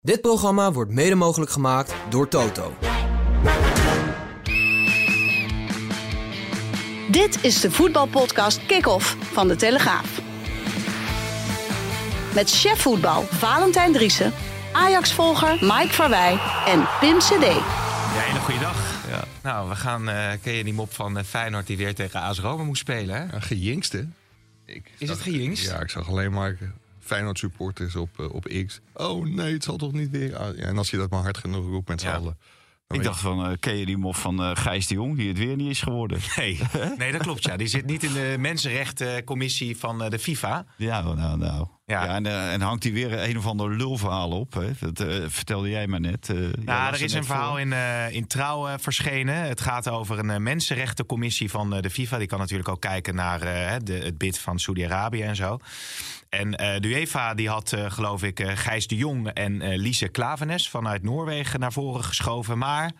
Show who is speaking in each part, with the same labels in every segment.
Speaker 1: Dit programma wordt mede mogelijk gemaakt door Toto.
Speaker 2: Dit is de voetbalpodcast Kick-Off van De Telegraaf. Met chef voetbal Valentijn Driessen, Ajax-volger Mike Verwij en Pim Cd.
Speaker 3: Ja, hele goede dag.
Speaker 4: Ja.
Speaker 3: Nou, we gaan, eh ken je die mop van eh, Feyenoord die weer tegen AS Roma moest spelen, hè?
Speaker 4: Ja, gejinxed, hè? Ik
Speaker 3: Is
Speaker 4: zag-
Speaker 3: het gejinxed?
Speaker 4: Ja, ik zag alleen maar Feyenoord supporters op, eh, op X. Oh nee, het zal toch niet weer... aan- Ja, en als je dat maar hard genoeg roept met z'n
Speaker 3: Ja.
Speaker 4: allen.
Speaker 5: Ik dacht van, eh ken je die mof van eh, Gijs de Jong, die het weer niet is geworden?
Speaker 3: Nee. nee, dat klopt, ja. Die zit niet in de mensenrechtencommissie van eh, de FIFA.
Speaker 5: Ja, nou, nou.
Speaker 3: Ja.
Speaker 5: Ja. en, eh, en hangt hij weer een of ander lulverhaal op. Hè? Dat eh, vertelde jij maar net. eh, jij was
Speaker 3: Nou, er is
Speaker 5: net
Speaker 3: een verhaal
Speaker 5: voor.
Speaker 3: in, eh, in Trouw eh, verschenen. Het gaat over een eh, mensenrechtencommissie van eh, de FIFA. Die kan natuurlijk ook kijken naar eh, de, het bid van Saudi-Arabië en zo. En eh, de UEFA die had, eh, geloof ik, eh, Gijs de Jong en eh, Lise Klavenes vanuit Noorwegen naar voren geschoven. Maar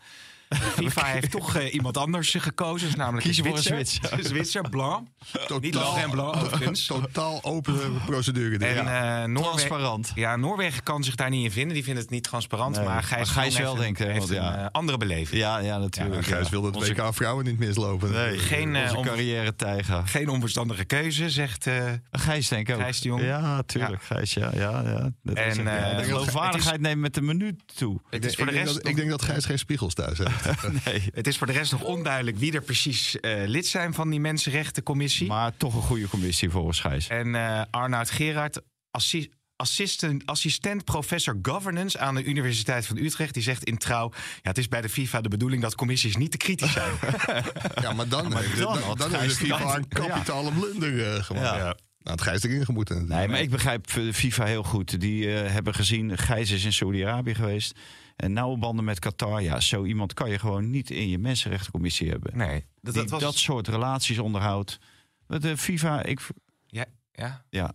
Speaker 3: de FIFA heeft toch eh, iemand anders gekozen. Dat is namelijk
Speaker 5: Kiezen voor een
Speaker 3: Zwitser. Zwitser, Blanc.
Speaker 4: Totaal-
Speaker 3: Niet lang en blanc, overigens.
Speaker 4: Totaal open procedure. dit,
Speaker 3: En,
Speaker 4: ja.
Speaker 3: eh, Noorwe-
Speaker 5: Transparant.
Speaker 3: Ja, Noorwegen kan zich daar niet in vinden. Die vinden het niet transparant.
Speaker 5: Nee,
Speaker 3: Maar Gijs,
Speaker 5: maar Gijs
Speaker 3: de Jong
Speaker 5: wel,
Speaker 3: heeft een-
Speaker 5: denk ik,
Speaker 3: heeft
Speaker 5: want
Speaker 3: een
Speaker 5: ja.
Speaker 3: eh, andere beleving.
Speaker 5: Ja, ja,
Speaker 4: Ja,
Speaker 5: natuurlijk.
Speaker 4: Gijs wilde het
Speaker 5: Onze-
Speaker 4: WK vrouwen niet mislopen.
Speaker 5: Nee,
Speaker 3: Geen,
Speaker 5: geen,
Speaker 3: eh,
Speaker 5: onze
Speaker 3: om-
Speaker 5: carrière tijger.
Speaker 3: Geen onverstandige keuze, zegt. eh,
Speaker 5: Gijs denk ik ook.
Speaker 3: Gijs de Jong.
Speaker 5: Ja, tuurlijk. Gijs, ja. ja, ja. Dat
Speaker 3: En,
Speaker 5: is ook- ja,
Speaker 3: eh,
Speaker 5: de geloofwaardigheid neemt met de minuut toe.
Speaker 3: het,
Speaker 4: Ik,
Speaker 3: is voor de
Speaker 4: denk
Speaker 3: rest
Speaker 4: dat, ik
Speaker 3: nog,
Speaker 4: denk dat Gijs geen spiegels thuis heeft.
Speaker 5: Nee.
Speaker 3: het is voor de rest nog onduidelijk wie er precies eh, lid zijn van die Mensenrechtencommissie.
Speaker 5: Maar toch een goede commissie volgens Gijs.
Speaker 3: En eh, Arnoud Gerard, assi- assistent, assistent professor governance aan de Universiteit van Utrecht, die zegt in trouw: ja, het is bij de FIFA de bedoeling dat commissies niet te kritisch zijn.
Speaker 4: ja, maar dan, heeft-
Speaker 5: dan
Speaker 4: dan,
Speaker 5: had
Speaker 4: dan heeft de
Speaker 5: Gijs-
Speaker 4: FIFA een kapitale blunder eh, gemaakt.
Speaker 5: Ja.
Speaker 4: Ja. Nou, het Gijs erin gemoeten. Nou,
Speaker 5: Nee, maar ik begrijp eh, FIFA heel goed. Die eh, hebben gezien, Gijs is in Saudi-Arabië geweest. En nauwe banden met Qatar. Ja, zo iemand kan je gewoon niet in je mensenrechtencommissie hebben.
Speaker 3: Nee, dat,
Speaker 5: die
Speaker 3: dat was.
Speaker 5: dat soort relaties onderhoudt. Want De FIFA, ik,
Speaker 3: ja, ja.
Speaker 5: ja.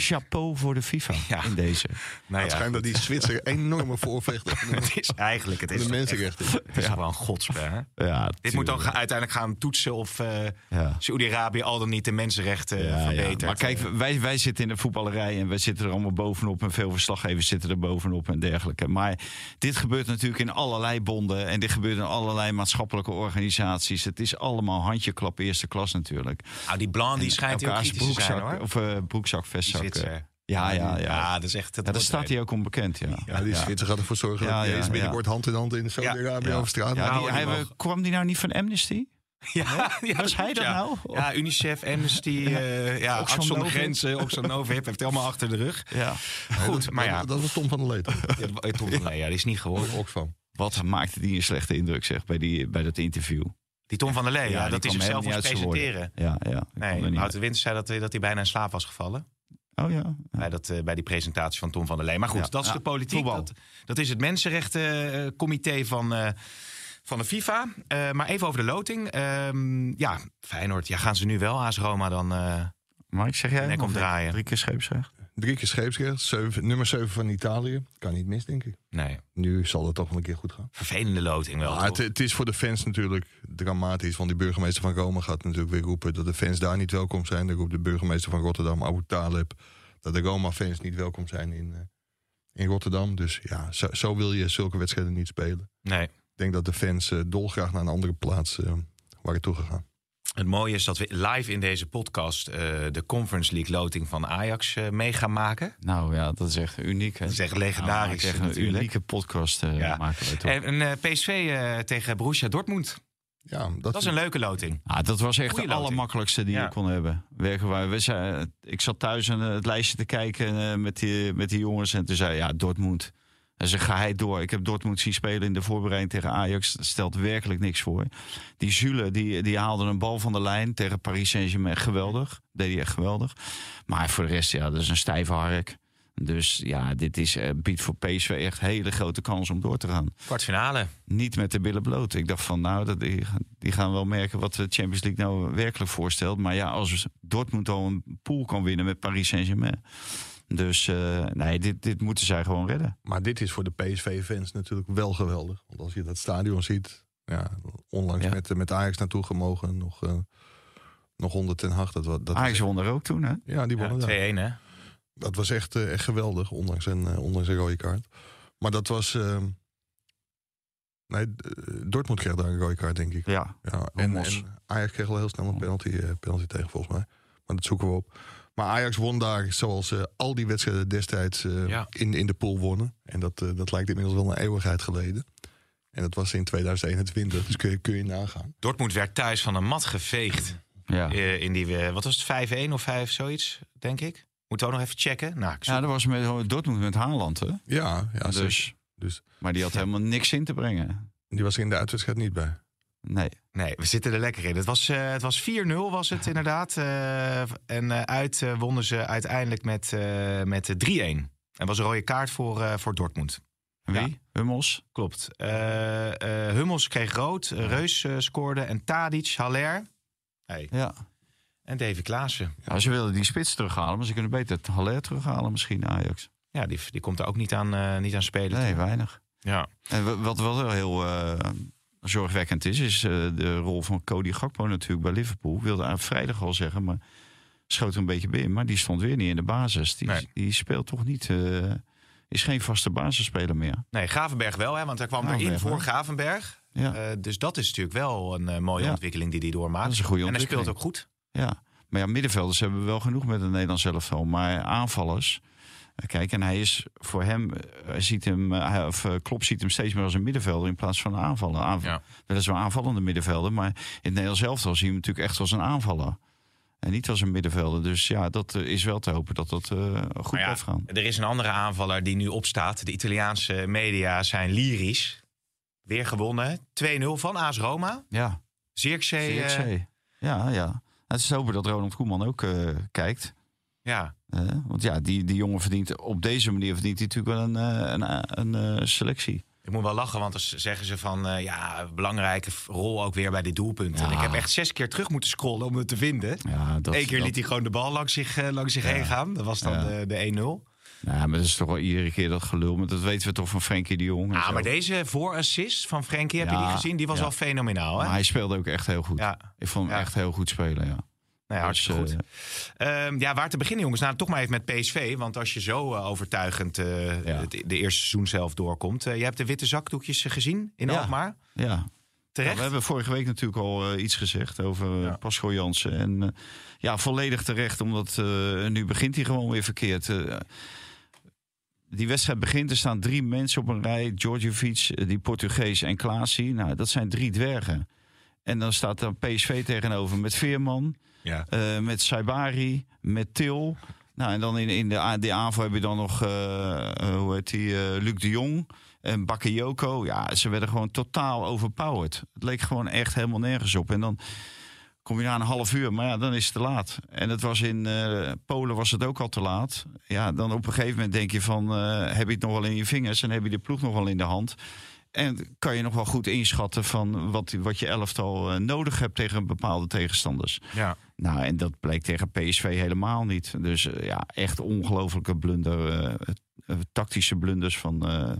Speaker 5: Chapeau voor de FIFA
Speaker 3: Ja.
Speaker 5: in deze.
Speaker 3: Nou
Speaker 4: Het
Speaker 3: ja,
Speaker 4: schijnt dat die Zwitser enorme voorvechter van de-
Speaker 3: het is eigenlijk het
Speaker 4: van
Speaker 3: is
Speaker 4: de
Speaker 3: toch echt-
Speaker 4: mensenrechten is.
Speaker 3: Het is gewoon een godsper. hè?
Speaker 5: Ja,
Speaker 3: Dit moet dan ga- uiteindelijk gaan toetsen of eh
Speaker 5: Ja.
Speaker 3: Saudi-Arabië al dan niet de mensenrechten eh, verbetert.
Speaker 5: Maar kijk, wij, wij zitten in de voetballerij en wij zitten er allemaal bovenop. En veel verslaggevers zitten er bovenop en dergelijke. Maar dit gebeurt natuurlijk in allerlei bonden. En dit gebeurt in allerlei maatschappelijke organisaties. Het is allemaal handjeklap eerste klas natuurlijk.
Speaker 3: Nou, die Blanc die schijnt heel
Speaker 5: Elkaars
Speaker 3: kritisch te zijn, hoor.
Speaker 5: of eh, broekzak,
Speaker 3: Die
Speaker 5: vestzak. eh.
Speaker 3: Zwitser.
Speaker 5: Ja, ja, ja.
Speaker 3: Ja, dat is echt...
Speaker 5: Ja, daar staat hij ook onbekend, ja.
Speaker 4: Ja, die Zwitser gaat ervoor zorgen
Speaker 5: Ja,
Speaker 4: dat hij
Speaker 5: ja,
Speaker 4: eens binnenkort hand in hand in Saudi-Arabië
Speaker 5: Ja.
Speaker 4: over straat
Speaker 5: Ja,
Speaker 4: loopt.
Speaker 5: die- hij, kwam die nou niet van Amnesty?
Speaker 3: Ja, ja,
Speaker 5: Was hij dat
Speaker 3: ja.
Speaker 5: nou?
Speaker 3: Ja, UNICef, Amnesty, eh
Speaker 5: Oxfam
Speaker 3: ja, Artsen zonder
Speaker 5: Novib.
Speaker 3: Grenzen, Oxfam Novib, heeft helemaal achter de rug.
Speaker 5: Ja.
Speaker 3: Goed, maar ja,
Speaker 4: Dat, dat was Tom van der Leed.
Speaker 3: het- Tom van Lee, ja, die is niet gehoord.
Speaker 4: Oxfam.
Speaker 5: Wat maakte die een slechte indruk, zeg, bij, die, bij dat interview?
Speaker 3: Die Tom van der Lee, ja,
Speaker 5: die
Speaker 3: dat hij
Speaker 5: kwam
Speaker 3: zichzelf moest
Speaker 5: helemaal niet uit zijn woorden. Ja,
Speaker 3: presenteren.
Speaker 5: ja. die kwam er
Speaker 3: Nee,
Speaker 5: niet
Speaker 3: Hout de Wind zei dat, hij- dat hij bijna in slaap was gevallen.
Speaker 5: uit. Oh ja.
Speaker 3: Bij, dat, eh, bij die presentatie van Tom van der Lee. Maar goed,
Speaker 5: Ja.
Speaker 3: dat is
Speaker 5: Ja,
Speaker 3: de politiek.
Speaker 5: voetbal.
Speaker 3: Dat, dat is het mensenrechtencomité van, eh, van de FIFA. Eh, maar even over de loting. Ehm, ja, Feyenoord, ja, gaan ze nu wel AS Roma dan... eh,
Speaker 5: Maar ik zeg jij
Speaker 3: Nek
Speaker 5: nog
Speaker 3: omdraaien.
Speaker 5: even Drie keer scheepsrecht.
Speaker 4: Drie keer scheepsrecht, zeven- nummer 7 van Italië. Kan niet mis, denk ik.
Speaker 3: nee,
Speaker 4: Nu zal het toch wel een keer goed gaan.
Speaker 3: vervelende loting wel.
Speaker 4: Maar het,
Speaker 3: toch?
Speaker 4: het is voor de fans natuurlijk dramatisch. Want die burgemeester van Rome gaat natuurlijk weer roepen dat de fans daar niet welkom zijn. Dan roept de burgemeester van Rotterdam, Abu Talib, dat de Roma-fans niet welkom zijn in, eh, in Rotterdam. Dus ja, zo, zo wil je zulke wedstrijden niet spelen.
Speaker 3: nee.
Speaker 4: Ik denk dat de fans eh, dolgraag naar een andere plaats eh, waren toegegaan.
Speaker 3: Het mooie is dat we live in deze podcast eh, de Conference League loting van Ajax eh, mee gaan maken.
Speaker 5: Nou ja, dat is echt uniek. Hè?
Speaker 3: Dat is echt
Speaker 5: Nou, ik
Speaker 3: legendarisch
Speaker 5: zeg een
Speaker 3: natuurlijk.
Speaker 5: unieke podcast eh,
Speaker 3: Ja.
Speaker 5: maken we toch.
Speaker 3: En eh, PSV eh, tegen Borussia Dortmund.
Speaker 4: Ja, dat,
Speaker 3: Dat is een leuke loting.
Speaker 5: Ah, dat was echt
Speaker 3: Goeie
Speaker 5: de
Speaker 3: loting.
Speaker 5: allermakkelijkste die
Speaker 3: Ja.
Speaker 5: je kon hebben. Werkenwaar. We zei, ik zat thuis aan eh, het lijstje te kijken eh, met, die, met die jongens. En toen zei hij, ja, Dortmund. Hij zei, ga hij door. Ik heb Dortmund zien spelen in de voorbereiding tegen Ajax. Dat stelt werkelijk niks voor. Die Zule, die, die haalde een bal van de lijn tegen Paris Saint-Germain. Geweldig. Deed hij echt geweldig. Maar voor de rest, ja, dat is een stijve hark. Dus ja, dit is, eh, biedt voor PSV echt hele grote kans om door te gaan
Speaker 3: Kwartfinale.
Speaker 5: niet met de billen bloot. Ik dacht van, nou, dat, die, gaan- die gaan wel merken wat de Champions League nou werkelijk voorstelt. Maar ja, als Dortmund al een pool kan winnen met Paris Saint-Germain. Dus eh, nee, dit, dit moeten zij gewoon redden.
Speaker 4: Maar dit is voor de PSV-fans natuurlijk wel geweldig. Want als je dat stadion ziet, ja, onlangs
Speaker 5: Ja.
Speaker 4: Met, eh, met Ajax naartoe gemogen, nog, eh nog onder Ten Hag. Dat, wa- dat was-
Speaker 5: Ajax won er ook toen, hè?
Speaker 4: ja, die
Speaker 3: Ja, 2-1
Speaker 4: wonnen daar.
Speaker 3: hè.
Speaker 4: dat was echt, eh, echt geweldig, ondanks een, eh, ondanks een rode kaart. Maar dat was... eh, nee, eh, Dortmund kreeg daar een rode kaart, denk ik.
Speaker 5: Ja,
Speaker 4: Ja, en,
Speaker 5: Hummels.
Speaker 4: en Ajax kreeg al heel snel een penalty, eh, penalty tegen, volgens mij. Maar dat zoeken we op. Maar Ajax won daar, zoals eh, al die wedstrijden destijds eh,
Speaker 3: Ja.
Speaker 4: in, in de pool wonnen. En dat, eh, dat lijkt inmiddels wel een eeuwigheid geleden. En dat was in 2021, dus kun je, kun je nagaan.
Speaker 3: Dortmund werd thuis van een mat geveegd.
Speaker 5: ja.
Speaker 3: Eh, in die, eh, wat was het, 5-1 of 5 zoiets, denk ik? Moeten we ook nog even checken? Nou, ik zoek-
Speaker 5: ja, dat was met oh, Dortmund met Haaland, hè?
Speaker 4: Ja, ja dus.
Speaker 5: dus,
Speaker 4: dus
Speaker 5: maar die had helemaal niks in te brengen.
Speaker 4: die was er in de uitwedstrijd niet bij.
Speaker 5: Nee.
Speaker 3: Nee, we zitten er lekker in. Het was, eh, het was 4-0 was het inderdaad. Eh, en eh, uit eh, wonnen ze uiteindelijk met, eh, met eh, 3-1. En was een rode kaart voor, eh, voor Dortmund.
Speaker 5: Wie? Hummels?
Speaker 3: Klopt. Eh, eh, Hummels kreeg rood, eh, Reus eh, scoorde en Tadic, Haller hey.
Speaker 5: Ja.
Speaker 3: en Davy Klaassen.
Speaker 5: ja. Ze wilden die spits terughalen, maar ze kunnen beter het Haller terughalen misschien, Ajax.
Speaker 3: Ja, die, die komt er ook niet aan, eh, niet aan spelen.
Speaker 5: Nee, weinig.
Speaker 3: Ja.
Speaker 5: En wa- wat wel heel eh, zorgwekkend is, is eh, de rol van Cody Gakpo natuurlijk bij Liverpool. Ik wilde aan vrijdag al zeggen, maar schoot er een beetje binnen. Maar die stond weer niet in de basis. Die,
Speaker 3: Nee.
Speaker 5: die speelt toch niet... eh, is geen vaste basisspeler meer.
Speaker 3: Nee, Gavenberg wel, hè, want hij kwam
Speaker 5: Gavenberg,
Speaker 3: erin voor
Speaker 5: hè?
Speaker 3: Gavenberg.
Speaker 5: Ja.
Speaker 3: Eh, dus dat is natuurlijk wel een eh, mooie
Speaker 5: Ja.
Speaker 3: ontwikkeling die hij doormaakt.
Speaker 5: Dat is een goede
Speaker 3: en hij
Speaker 5: ontwikkeling.
Speaker 3: speelt ook goed.
Speaker 5: Ja, maar ja, middenvelders hebben we wel genoeg met het Nederlands elftal. Maar aanvallers, eh, kijk, en hij is voor hem, eh, hij ziet hem, eh, hij- of eh, Klopp ziet hem steeds meer als een middenvelder in plaats van een aanvaller. Aanv
Speaker 3: Ja.
Speaker 5: Weliswaar aanvallende middenvelder, maar in het Nederlands elftal zien we hem natuurlijk echt als een aanvaller. En niet als een middenvelder. Dus ja, dat eh, is wel te hopen dat dat eh, goed
Speaker 3: Maar ja,
Speaker 5: blijft gaan.
Speaker 3: Er is een andere aanvaller die nu opstaat. De Italiaanse media zijn lyrisch. Weer gewonnen. 2-0 van AS Roma.
Speaker 5: Ja,
Speaker 3: Zirkzee. eh,
Speaker 5: VXC. Ja, ja. Het is te hopen dat Ronald Koeman ook eh, kijkt.
Speaker 3: ja.
Speaker 5: Eh, want ja, die, die jongen verdient op deze manier verdient hij natuurlijk wel een, eh, een, een eh, selectie.
Speaker 3: Ik moet wel lachen, want dan z- zeggen ze van... eh, ja, belangrijke f- rol ook weer bij dit doelpunt. En
Speaker 5: Ja.
Speaker 3: ik heb echt zes keer terug moeten scrollen om het te vinden.
Speaker 5: Ja, dat,
Speaker 3: Eén keer
Speaker 5: dat-
Speaker 3: liet hij gewoon de bal langs zich, eh, langs zich heen gaan. Dat was dan
Speaker 5: Ja.
Speaker 3: de, de 1-0.
Speaker 5: Nou, maar dat is toch wel iedere keer dat gelul. Maar dat weten we toch van Frenkie de Jong. en
Speaker 3: Ah,
Speaker 5: zo.
Speaker 3: maar deze voorassist van Frenkie, heb je
Speaker 5: Ja,
Speaker 3: die gezien? Die was
Speaker 5: ja.
Speaker 3: al fenomenaal, hè?
Speaker 5: Maar hij speelde ook echt heel goed.
Speaker 3: Ja,
Speaker 5: Ik vond hem
Speaker 3: Ja.
Speaker 5: echt heel goed spelen, ja.
Speaker 3: nou ja, hartstikke
Speaker 5: Dus,
Speaker 3: goed. Ehm, ja, waar te beginnen, jongens? Nou, toch maar even met PSV. Want als je zo eh, overtuigend eh,
Speaker 5: Ja.
Speaker 3: het- de eerste seizoen zelf doorkomt. eh, je hebt de witte zakdoekjes eh, gezien in
Speaker 5: Ja.
Speaker 3: Alkmaar.
Speaker 5: eh, ja.
Speaker 3: Terecht.
Speaker 5: we hebben vorige week natuurlijk al eh, iets gezegd over
Speaker 3: Ja.
Speaker 5: ja. Pascal Jansen. En eh, ja, volledig terecht, omdat eh, nu begint hij gewoon weer verkeerd. Eh, die wedstrijd begint, er staan drie mensen op een rij. Djordjevic, eh, die Portugees en Klaasie. Nou, dat zijn drie dwergen. En dan staat dan PSV tegenover met Veerman,
Speaker 3: Ja.
Speaker 5: eh, met Saibari, met Til. Nou, en dan in, in de, a- die aanval heb je dan nog, eh, eh, hoe heet die, eh, Luc de Jong en Bakayoko. Ja, ze werden gewoon totaal overpowered. Het leek gewoon echt helemaal nergens op. En dan kom je na een half uur, maar ja, dan is het te laat. En het was in eh, Polen was het ook al te laat. Ja, dan op een gegeven moment denk je van, eh, heb je het nog wel in je vingers en heb je de ploeg nog wel in de hand? En kan je nog wel goed inschatten van wat, wat je elftal eh, nodig hebt tegen bepaalde tegenstanders.
Speaker 3: Ja.
Speaker 5: Nou, en dat bleek tegen PSV helemaal niet. Dus eh, ja, echt ongelofelijke blunder. eh, eh, tactische blunders van eh,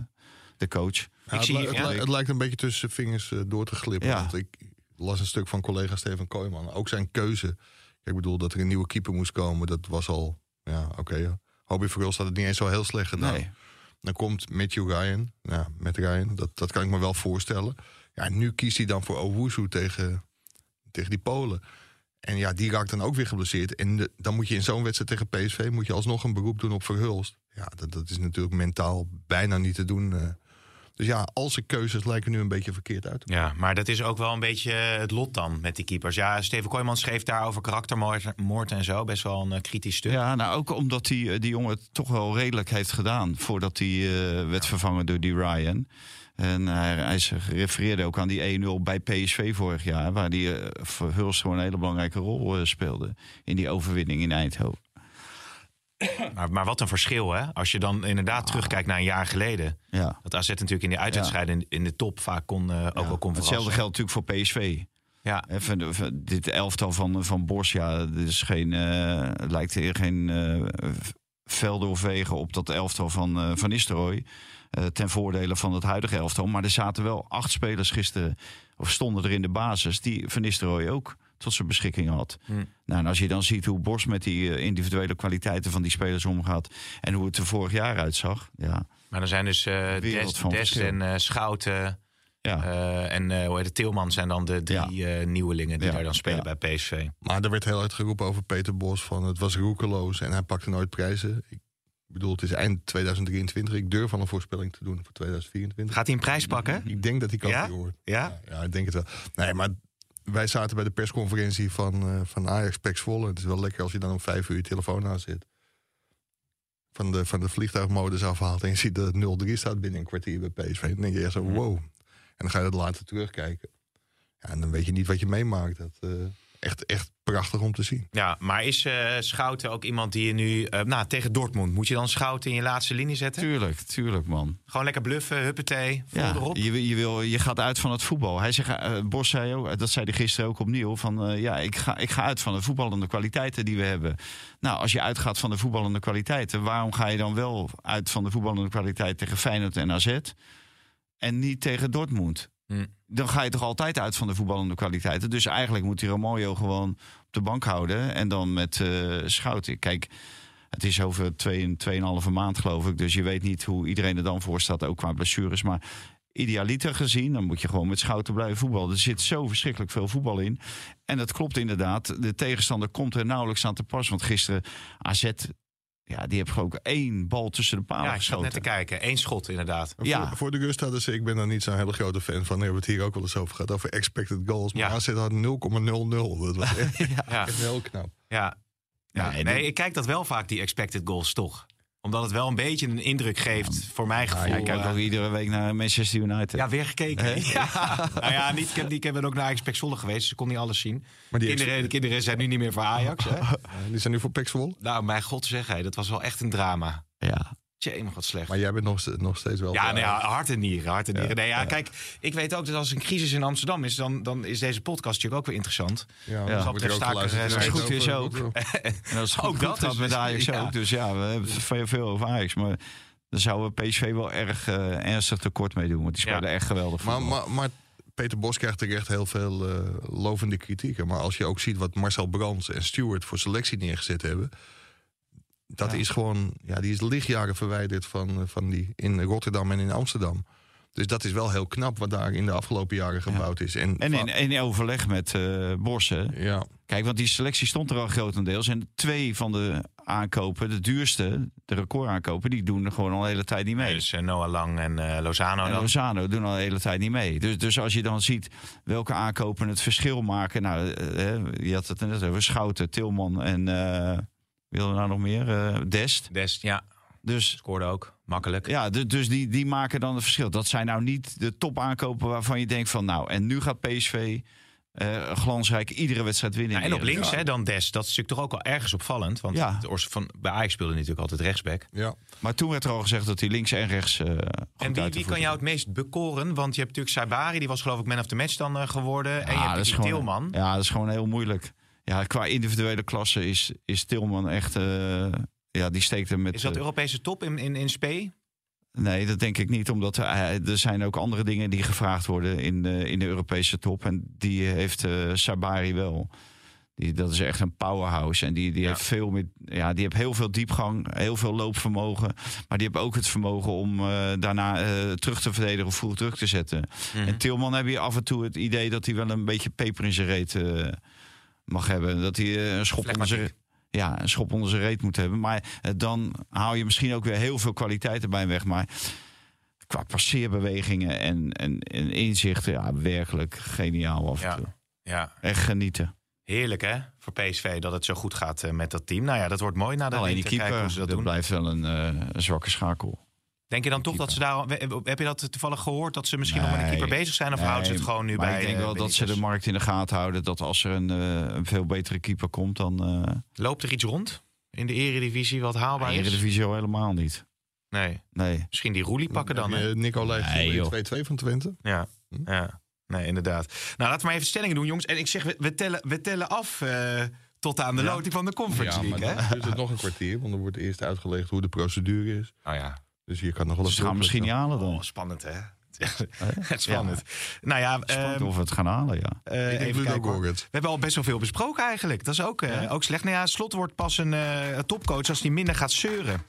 Speaker 5: de coach.
Speaker 4: Ja, het,
Speaker 3: zie-
Speaker 4: li- het,
Speaker 3: ja.
Speaker 4: li- het lijkt een beetje tussen de vingers eh, door te glippen.
Speaker 5: Ja.
Speaker 4: Want ik las een stuk van collega Steven Kooijman. Ook zijn keuze. Kijk, Ik bedoel, dat er een nieuwe keeper moest komen, dat was al... Ja, oké. ja. Hobby voor had het niet eens zo heel slecht gedaan.
Speaker 5: Nee.
Speaker 4: Dan komt Matthew Ryan. Ja, met Ryan. Dat, dat kan ik me wel voorstellen. Ja, nu kiest hij dan voor Owusu tegen, tegen die Polen. En ja, die raakt dan ook weer geblesseerd. En de- dan moet je in zo'n wedstrijd tegen PSV... moet je alsnog een beroep doen op Verhulst. Ja, dat, dat is natuurlijk mentaal bijna niet te doen. eh. Dus ja, al zijn keuzes lijken nu een beetje verkeerd uit.
Speaker 3: Ja, maar dat is ook wel een beetje eh, het lot dan met die keepers. Ja, Steven Kooijman schreef daar over karaktermoord moord en zo. Best wel een eh, kritisch stuk.
Speaker 5: Ja, nou ook omdat die, eh, die jongen het toch wel redelijk heeft gedaan voordat hij eh, werd vervangen door die Ryan. En hij, hij ze- refereerde ook aan die 1-0 bij PSV vorig jaar, waar die eh, voor Hulst gewoon een hele belangrijke rol eh, speelde in die overwinning in Eindhoven.
Speaker 3: Maar, maar wat een verschil, hè? Als je dan inderdaad terugkijkt naar een jaar geleden.
Speaker 5: Ja.
Speaker 3: Dat AZ natuurlijk in de uitwedstrijden in, in de top vaak kon, eh, ook wel kon
Speaker 5: Hetzelfde
Speaker 3: verrassen.
Speaker 5: geldt natuurlijk voor PSV.
Speaker 3: Ja.
Speaker 5: Hè, van- van- dit elftal van, van Bos, ja, er is geen, eh, het lijkt hier geen eh, v- velden of wegen op dat elftal van eh, Van Nistelrooy. eh, ten voordele van het huidige elftal. Maar er zaten wel acht spelers gisteren, of stonden er in de basis, die Van Nistelrooy ook tot zijn beschikking had.
Speaker 3: Hmm.
Speaker 5: Nou, en als je dan ziet hoe Bos met die eh, individuele kwaliteiten van die spelers omgaat en hoe het er vorig jaar uitzag. Ja,
Speaker 3: Maar er zijn dus eh
Speaker 5: Wereld
Speaker 3: Des,
Speaker 5: van
Speaker 3: Des
Speaker 5: verschil.
Speaker 3: en eh, Schouten
Speaker 5: ja.
Speaker 3: eh, en eh hoe heet het, Tilman zijn dan de drie eh, nieuwelingen die
Speaker 5: Ja.
Speaker 3: daar dan spelen
Speaker 5: Ja.
Speaker 3: bij PSV.
Speaker 4: Maar er werd heel hard geroepen over Peter Bos van het was roekeloos en hij pakte nooit prijzen. Ik bedoel, het is eind 2023. Ik durf al een voorspelling te doen voor 2024.
Speaker 3: Gaat hij een prijs pakken?
Speaker 4: Ik denk dat hij kampioen wordt.
Speaker 3: Ja?
Speaker 4: Ja, ja, ik denk het wel. Nee, maar wij zaten bij de persconferentie van, eh, van Ajax Pax Volle. Het is wel lekker als je dan om vijf uur je telefoon aan zit. Van de, van de vliegtuigmodus afhaalt en je ziet dat het 0-3 staat binnen een kwartier bij PSV. Dan denk je echt zo,
Speaker 3: Mm.
Speaker 4: wow. En dan ga je dat later terugkijken. Ja, en dan weet je niet wat je meemaakt. Dat, eh, echt, echt prachtig om te zien.
Speaker 3: Ja, maar is eh, Schouten ook iemand die je nu... eh, nou, tegen Dortmund, moet je dan Schouten in je laatste linie zetten?
Speaker 5: Tuurlijk, tuurlijk man.
Speaker 3: Gewoon lekker bluffen, huppatee, vol
Speaker 5: Ja,
Speaker 3: erop.
Speaker 5: je, wil- je, wil, je gaat uit van het voetbal. Hij zegt, eh, Bos zei ook, dat zei hij gisteren ook opnieuw, van eh, ja, ik ga, ik ga uit van de voetballende kwaliteiten die we hebben. Nou, als je uitgaat van de voetballende kwaliteiten, waarom ga je dan wel uit van de voetballende kwaliteit tegen Feyenoord en AZ en niet tegen Dortmund?
Speaker 3: Hm.
Speaker 5: Dan ga je toch altijd uit van de voetballende kwaliteiten. Dus eigenlijk moet die Romario gewoon op de bank houden en dan met eh Schouten. Kijk, het is over twee en- 2,5 maand, geloof ik. Dus je weet niet hoe iedereen er dan voor staat, ook qua blessures. Maar idealiter gezien, dan moet je gewoon met schouten blijven voetballen. Er zit zo verschrikkelijk veel voetbal in. En dat klopt inderdaad. De tegenstander komt er nauwelijks aan te pas. Want gisteren AZ, ja, die heeft gewoon ook één bal tussen de palen
Speaker 3: Ja, ik zat net te
Speaker 5: geschoten.
Speaker 3: kijken. Eén schot inderdaad.
Speaker 5: Ja.
Speaker 4: Voor, voor de rust hadden ze, ik ben daar niet zo'n hele grote fan van. We hebben het hier ook wel eens over gehad, over expected goals. Maar
Speaker 3: Ja.
Speaker 4: AZ had 0,00. Dat was echt,
Speaker 3: Ja,
Speaker 4: echt heel knap.
Speaker 3: ja. ja.
Speaker 5: Ja, en
Speaker 3: nee,
Speaker 5: die-
Speaker 3: ik kijk dat wel vaak, die expected goals, toch? Omdat het wel een beetje een indruk geeft, voor mijn gevoel.
Speaker 5: Ja, ik kijk
Speaker 3: eh,
Speaker 5: ook iedere week naar Manchester United.
Speaker 3: ja, weer gekeken. Ja. nou ja, niet, ik, heb, ik ben ook naar Ajax Pek Zwolle geweest, dus ik kon niet alles zien.
Speaker 4: Maar die
Speaker 3: Kinderen, de kinderen zijn nu niet meer voor Ajax. Hè?
Speaker 4: Ja, Die zijn nu voor Pax Zwolle.
Speaker 3: nou, mijn god zeg, hij, dat was wel echt een drama.
Speaker 5: Ja.
Speaker 3: Tjee, maar wat slecht.
Speaker 4: Maar jij bent nog, ste- nog steeds wel...
Speaker 3: Ja,
Speaker 4: voor
Speaker 3: nou ja,
Speaker 4: Ajax.
Speaker 3: hart en nieren. Hart en nieren. Nee, ja, kijk, ik weet ook dat als een crisis in Amsterdam is, dan, dan is deze podcast natuurlijk ook weer interessant.
Speaker 4: ja,
Speaker 5: dat
Speaker 4: wordt er
Speaker 3: betreft
Speaker 4: ook
Speaker 3: staken,
Speaker 4: geluisterd.
Speaker 5: zo
Speaker 3: eh,
Speaker 4: Er
Speaker 5: goed
Speaker 4: over-
Speaker 5: is ook. En dat is goed,
Speaker 3: Ook
Speaker 5: goed
Speaker 3: dat
Speaker 5: gaat
Speaker 3: is
Speaker 5: met
Speaker 3: dus-
Speaker 5: Ajax
Speaker 3: ja.
Speaker 5: ook. Dus ja, we hebben het veel, veel over Ajax. Maar daar zouden PSV wel erg eh, ernstig tekort mee doen. Want die
Speaker 3: Ja.
Speaker 5: spelen echt geweldig
Speaker 4: Maar,
Speaker 5: voetbal.
Speaker 4: maar, maar Peter Bos krijgt terecht heel veel eh, lovende kritieken. Maar als je ook ziet wat Marcel Brands en Stewart voor selectie neergezet hebben... Dat is gewoon... Ja, die is lichtjaren verwijderd van, eh, van die in Rotterdam en in Amsterdam. Dus dat is wel heel knap wat daar in de afgelopen jaren gebouwd is. En,
Speaker 5: En in, in overleg met eh Bos, hè.
Speaker 4: Ja,
Speaker 5: Kijk, want die selectie stond er al grotendeels. En twee van de aankopen, de duurste, de recordaankopen... die doen er gewoon al de hele tijd niet mee.
Speaker 3: Dus eh, Noah Lang en eh, Lozano.
Speaker 5: en
Speaker 3: dan.
Speaker 5: Lozano doen al de hele tijd niet mee. Dus, dus als je dan ziet welke aankopen het verschil maken... Nou, eh, eh, je had het er net over Schouten, Tilman en... eh wil er nou nog meer? Eh, Dest.
Speaker 3: Des, ja,
Speaker 5: Dus
Speaker 3: scoorde ook. Makkelijk.
Speaker 5: Ja, du- dus die, die maken dan het verschil. Dat zijn nou niet de top aankopen waarvan je denkt van... nou, en nu gaat PSV eh, glansrijk iedere wedstrijd winnen.
Speaker 3: Nou,
Speaker 5: in
Speaker 3: en
Speaker 5: de
Speaker 3: op links hè,
Speaker 5: Eredivisie.
Speaker 3: dan Des. Dat is natuurlijk toch ook wel ergens opvallend. Want
Speaker 5: Ja.
Speaker 3: het Ors van, bij Ajax speelde hij natuurlijk altijd rechtsback.
Speaker 4: ja.
Speaker 5: Maar toen werd er al gezegd dat hij links en rechts eh goed
Speaker 3: En
Speaker 5: uit de
Speaker 3: wie, wie kan
Speaker 5: voeten
Speaker 3: jou het meest bekoren? Want je hebt natuurlijk Saibari, die was geloof ik man of the match dan eh, geworden. en je
Speaker 5: Ja,
Speaker 3: hebt
Speaker 5: Ah, dat is
Speaker 3: die
Speaker 5: gewoon,
Speaker 3: Tilman.
Speaker 5: Ja, dat is gewoon heel moeilijk. Ja, qua individuele klasse is, is Tilman echt... eh, ja, die steekt er met...
Speaker 3: Is dat
Speaker 5: eh,
Speaker 3: Europese top in, in, in spe?
Speaker 5: Nee, dat denk ik niet. Omdat eh, er zijn ook andere dingen die gevraagd worden in, eh, in de Europese top. En die heeft eh, Sabari wel. Die, dat is echt een powerhouse. En die, die,
Speaker 3: Ja.
Speaker 5: heeft veel meer, ja, die heeft heel veel diepgang, heel veel loopvermogen. Maar die heeft ook het vermogen om eh, daarna eh, terug te verdedigen of vroeg terug te zetten. En Tilman heb je af en toe het idee dat hij wel een beetje peper in zijn reet eh, mag hebben. Dat hij eh, een schop onder zijn... Ja, een schop onder zijn reet moet hebben. Maar eh, dan haal je misschien ook weer heel veel kwaliteiten bij hem weg. Maar qua passeerbewegingen en, en, en inzichten, ja, werkelijk geniaal af en
Speaker 3: Ja. Ah,
Speaker 5: toe.
Speaker 3: Ja,
Speaker 5: Echt genieten.
Speaker 3: heerlijk hè? Voor PSV dat het zo goed gaat eh, met dat team. Nou ja, dat wordt mooi na de
Speaker 5: Alleen Oh, die
Speaker 3: winter. Kijken
Speaker 5: keeper,
Speaker 3: hoe ze dat
Speaker 5: dat
Speaker 3: doen.
Speaker 5: blijft wel een, eh, een zwakke schakel.
Speaker 3: Denk je dan toch dat ze daar... Heb je dat toevallig gehoord? Dat ze misschien nog met een
Speaker 5: Nee.
Speaker 3: keeper bezig zijn? Of houden ze het
Speaker 5: Nee,
Speaker 3: Nou, gewoon nu
Speaker 5: maar
Speaker 3: bij...
Speaker 5: ik denk
Speaker 3: eh,
Speaker 5: wel dat ze de
Speaker 3: Benitez?
Speaker 5: markt in de gaten houden. Dat als er een, eh, een veel betere keeper komt, dan
Speaker 3: Oh,
Speaker 5: eh
Speaker 3: Loopt er iets rond? In de eredivisie wat
Speaker 5: de
Speaker 3: haalbaar is?
Speaker 5: Eredivisie al helemaal niet.
Speaker 3: Nee.
Speaker 5: Nee.
Speaker 3: Misschien die roelie pakken dan. hè?
Speaker 4: Heb je eh, Nico Leijf
Speaker 5: Nee, joh.
Speaker 4: in 2-2 van Twente.
Speaker 3: Ja.
Speaker 5: Hm?
Speaker 3: ja. Nee, inderdaad. Nou, laten we maar even stellingen doen, jongens. En ik zeg, we, we tellen, we tellen af eh, tot aan de loting van de Conference
Speaker 4: Ja, maar
Speaker 3: League.
Speaker 4: dan
Speaker 3: Hè?
Speaker 4: duurt het nog een kwartier. Want dan wordt eerst uitgelegd hoe de procedure is.
Speaker 3: Nou ja,
Speaker 4: Dus je kan nog wel
Speaker 5: Ze gaan misschien niet halen dan.
Speaker 3: oh, spannend hè. Het Echt spannend. Nou ja,
Speaker 5: Spannend
Speaker 3: ehm,
Speaker 5: of we het gaan halen, ja.
Speaker 3: eh,
Speaker 4: ik denk
Speaker 3: even
Speaker 4: Ludo
Speaker 3: kijken. hoor.
Speaker 4: Gorgit.
Speaker 3: We hebben al best wel veel besproken eigenlijk. Dat is ook, eh, ook slecht. Nou ja, Slot wordt pas een eh, topcoach als hij minder gaat zeuren.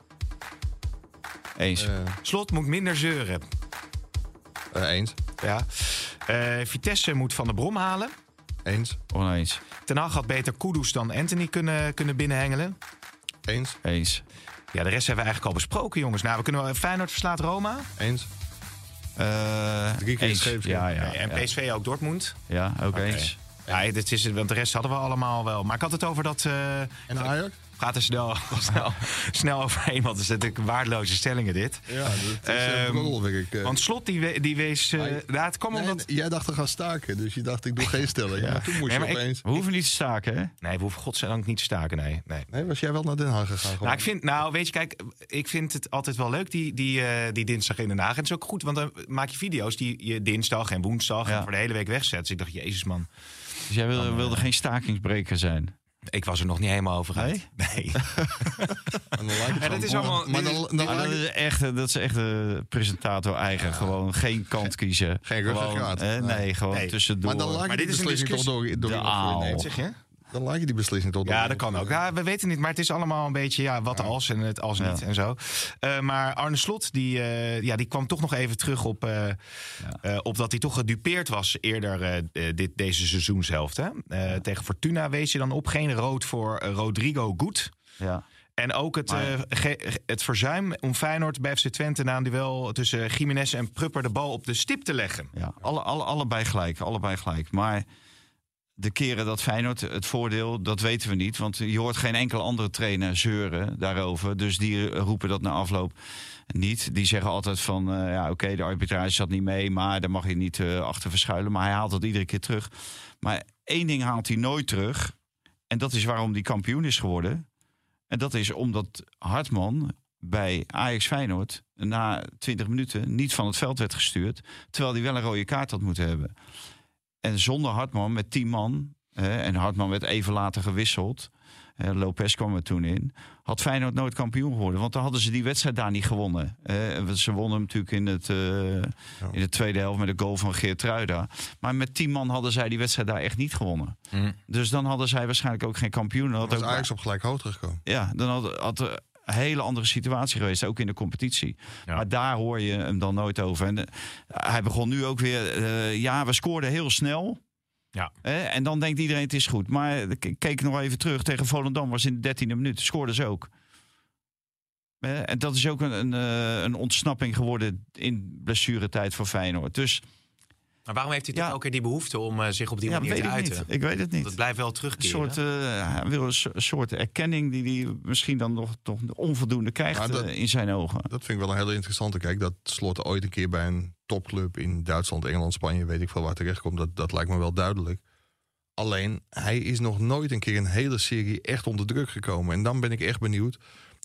Speaker 5: Eens.
Speaker 4: Eh,
Speaker 3: Slot moet minder zeuren.
Speaker 4: eh, eens.
Speaker 3: Ja. Eh, Vitesse moet Van de Brom halen.
Speaker 4: Eens.
Speaker 5: Oneens.
Speaker 3: Ten Hag had beter Kudus dan Anthony kunnen, kunnen binnenhengelen.
Speaker 4: Eens.
Speaker 5: Eens.
Speaker 3: Ja, de rest hebben we eigenlijk al besproken, jongens. Nou, we kunnen wel... Feyenoord verslaat Roma.
Speaker 4: Eens.
Speaker 5: Eh,
Speaker 4: Drie keer
Speaker 5: eens.
Speaker 4: scheepsrecht.
Speaker 5: Ja, ja,
Speaker 3: en
Speaker 5: ja.
Speaker 3: PSV ook Dortmund.
Speaker 5: Ja, ook eens.
Speaker 3: Ja, dit is, het, want de rest hadden we allemaal wel. Maar ik had het over dat... eh
Speaker 4: En Ajax?
Speaker 3: gaat er snel, snel, snel overheen, want het is natuurlijk waardeloze stellingen dit.
Speaker 4: Ja, dat is
Speaker 3: Ehm,
Speaker 4: een roddel, denk ik. eh.
Speaker 3: Want Slot die, we- die wees... eh
Speaker 4: Hij-
Speaker 3: nou, het kwam
Speaker 4: Nee,
Speaker 3: omdat...
Speaker 4: nee, jij dacht te gaan staken, dus je dacht ik doe geen stelling. Maar toen moest
Speaker 3: Nee,
Speaker 4: je
Speaker 3: maar ik-
Speaker 4: opeens...
Speaker 5: We hoeven niet te staken, hè?
Speaker 3: Nee, we hoeven godzijdank niet te staken, nee. nee.
Speaker 4: Nee, was jij wel naar Den Haag gegaan? gewoon?
Speaker 3: Nou, ik vind, nou, weet je, kijk, ik vind het altijd wel leuk, die, die, eh, die dinsdag in Den Haag. En het is ook goed, want dan maak je video's die je dinsdag en woensdag
Speaker 5: Ja.
Speaker 3: en voor de hele week wegzet. Dus ik dacht, jezus man,
Speaker 5: Dus jij wilde, wilde
Speaker 3: eh,
Speaker 5: geen stakingsbreker zijn.
Speaker 3: ik was er nog niet helemaal over uit. Nee.
Speaker 4: En dan lijkt
Speaker 3: Ja, dat
Speaker 4: het gewoon-
Speaker 3: is allemaal-
Speaker 4: Maar
Speaker 3: dit
Speaker 4: dan,
Speaker 3: is-
Speaker 4: dan,
Speaker 5: Maar Ah, dat
Speaker 4: lijkt het-
Speaker 5: is echt, dat is echt eh, presentator eigen. Gewoon geen kant kiezen.
Speaker 4: geen
Speaker 5: gewoon,
Speaker 4: ruggengraat.
Speaker 5: eh, nee.
Speaker 4: Nee.
Speaker 5: gewoon
Speaker 3: Nee.
Speaker 5: tussendoor.
Speaker 4: maar dan lijkt
Speaker 3: Maar
Speaker 4: die
Speaker 3: dit is een
Speaker 4: beslissing toch
Speaker 3: discussie.
Speaker 4: door, door
Speaker 5: De
Speaker 4: iemand
Speaker 5: aal.
Speaker 4: voor je neemt.
Speaker 3: Wat zeg je?
Speaker 4: Dan lijkt je die beslissing toch door.
Speaker 3: Ja,
Speaker 4: iemand
Speaker 3: dat kan
Speaker 4: voor
Speaker 3: ook.
Speaker 4: je neemt.
Speaker 3: Ja, we weten het niet, maar het is allemaal een beetje ja, wat als en het als niet
Speaker 5: Ja.
Speaker 3: en zo. Eh, maar Arne Slot, die, eh, ja, die kwam toch nog even terug op, eh, eh, op dat hij toch gedupeerd was eerder eh, eh, dit, deze seizoenshelft. Hè? Eh, Tegen Fortuna wees je dan op geen rood voor eh, Rodrigo Goed.
Speaker 5: Ja.
Speaker 3: En ook het,
Speaker 5: Maar-
Speaker 3: eh, ge- het verzuim om Feyenoord bij FC Twente na een duel tussen Jiménez en Prupper de bal op de stip te leggen.
Speaker 5: Ja, alle, alle, allebei gelijk, allebei gelijk. Maar de keren dat Feyenoord het voordeel, dat weten we niet. Want je hoort geen enkele andere trainer zeuren daarover. Dus die roepen dat na afloop niet. Die zeggen altijd van, eh, ja oké, de arbitrage zat niet mee... maar daar mag je niet eh, achter verschuilen. Maar hij haalt dat iedere keer terug. Maar één ding haalt hij nooit terug. En dat is waarom hij kampioen is geworden. En dat is omdat Hartman bij Ajax Feyenoord na 20 minuten niet van het veld werd gestuurd. Terwijl hij wel een rode kaart had moeten hebben. En zonder Hartman met 10 man. eh, en Hartman werd even later gewisseld. eh, Lopez kwam er toen in. Had Feyenoord nooit kampioen geworden. Want dan hadden ze die wedstrijd daar niet gewonnen. Eh, en ze wonnen hem natuurlijk in, het, eh, in de tweede helft met de goal van Geert Ruida. Maar met 10 man hadden zij die wedstrijd daar echt niet gewonnen. Dus dan hadden zij waarschijnlijk ook geen kampioen. Dan had
Speaker 4: Mm. Dan was
Speaker 5: ook-
Speaker 4: Ajax op gelijk hoogte gekomen.
Speaker 5: ja, dan had, had er een hele andere situatie geweest, ook in de competitie. Maar daar hoor je hem dan nooit over. En eh, hij begon nu ook weer, eh, ja, we scoorden heel snel.
Speaker 3: Ja.
Speaker 5: Hè, en dan denkt iedereen het is goed. Maar ik keek nog even terug, tegen Volendam was in de 13e minuut, scoorden ze ook. Hè, en dat is ook een, een, eh, een ontsnapping geworden in blessuretijd voor Feyenoord. Dus
Speaker 6: Maar waarom heeft hij toch
Speaker 5: Ja.
Speaker 6: elke keer die behoefte om eh, zich op die
Speaker 5: ja,
Speaker 6: manier
Speaker 5: weet
Speaker 6: te
Speaker 5: ik
Speaker 6: uiten?
Speaker 5: niet. Ik weet het niet.
Speaker 6: Dat blijft wel
Speaker 5: Een
Speaker 6: terugkeren.
Speaker 5: soort, eh, hij wil een so- soort erkenning die hij misschien dan nog toch onvoldoende krijgt
Speaker 4: Maar dat-
Speaker 5: eh, in zijn ogen.
Speaker 4: Dat vind ik wel een hele interessante. Kijk, dat slot ooit een keer bij een topclub in Duitsland, Engeland, Spanje, weet ik veel waar terechtkomt. Dat, dat lijkt me wel duidelijk. Alleen, hij is nog nooit een keer een hele serie echt onder druk gekomen. En dan ben ik echt benieuwd.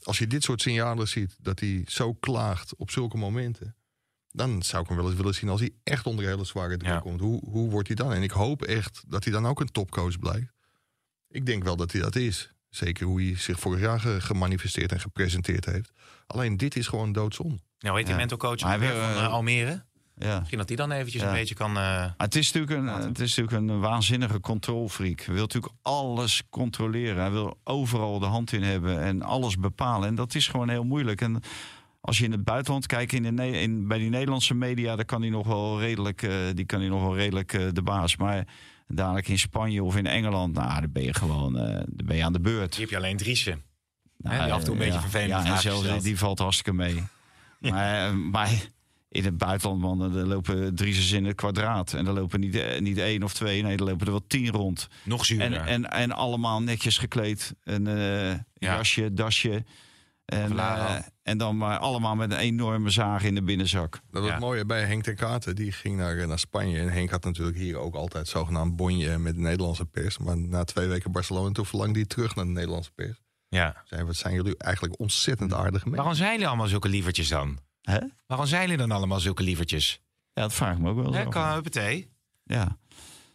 Speaker 4: Als je dit soort signalen ziet, dat hij zo klaagt op zulke momenten. Dan zou ik hem wel eens willen zien als hij echt onder hele zware druk
Speaker 3: Ja.
Speaker 4: komt. Hoe, hoe wordt hij dan? En ik hoop echt dat hij dan ook een topcoach blijkt. Ik denk wel dat hij dat is. Zeker hoe hij zich vorig jaar ge- gemanifesteerd en gepresenteerd heeft. Alleen dit is gewoon doodzonde.
Speaker 6: Nou, weet die
Speaker 5: Ja.
Speaker 6: mental coach
Speaker 5: Maar
Speaker 6: ook
Speaker 5: we-
Speaker 6: weer van eh, Almere?
Speaker 5: Ja.
Speaker 6: Misschien dat die dan eventjes
Speaker 5: Ja.
Speaker 6: een beetje kan... eh,
Speaker 5: Maar het is natuurlijk een, het is natuurlijk een waanzinnige controlfreak. Hij wil natuurlijk alles controleren. Hij wil overal de hand in hebben en alles bepalen. En dat is gewoon heel moeilijk. En als je in het buitenland kijkt, in de, Ne- in, bij die Nederlandse media, daar kan hij nog wel redelijk, eh, die kan hij nog wel redelijk eh, de baas. Maar dadelijk in Spanje of in Engeland, nou, dan ben je gewoon eh, dan ben je aan de beurt.
Speaker 6: Hier heb je alleen Driesje.
Speaker 5: Nou,
Speaker 6: Hè, die af en toe een
Speaker 5: eh,
Speaker 6: beetje
Speaker 5: ja.
Speaker 6: vervelende
Speaker 5: Ja, en
Speaker 6: vragen
Speaker 5: zelfs die,
Speaker 6: stelt.
Speaker 5: die valt hartstikke mee. maar, eh, maar in het buitenland, man, eh, er lopen driezes in het kwadraat. En er lopen niet, eh, niet één of twee, nee, er lopen er wel tien rond.
Speaker 6: Nog
Speaker 5: En,
Speaker 6: zuurder.
Speaker 5: en, en allemaal netjes gekleed. Een eh, jasje, dasje. En,
Speaker 6: Vlaar.
Speaker 5: eh, en dan maar allemaal met een enorme zaag in de binnenzak.
Speaker 4: Dat was
Speaker 6: Ja.
Speaker 4: het mooie bij Henk ten Katen. Die ging naar, eh, naar Spanje. En Henk had natuurlijk hier ook altijd zogenaamd bonje met de Nederlandse pers. Maar na twee weken Barcelona, toen verlangde hij terug naar de Nederlandse pers.
Speaker 3: Ja.
Speaker 4: Zei, wat zijn jullie eigenlijk ontzettend aardige mensen.
Speaker 3: Waarom zijn jullie allemaal zulke lievertjes dan?
Speaker 5: Hè?
Speaker 3: Waarom zijn jullie dan allemaal zulke lievertjes?
Speaker 5: Ja, dat vraag ik me ook wel. eens
Speaker 3: Hè,
Speaker 5: af.
Speaker 3: kan, huppatee.
Speaker 5: Ja.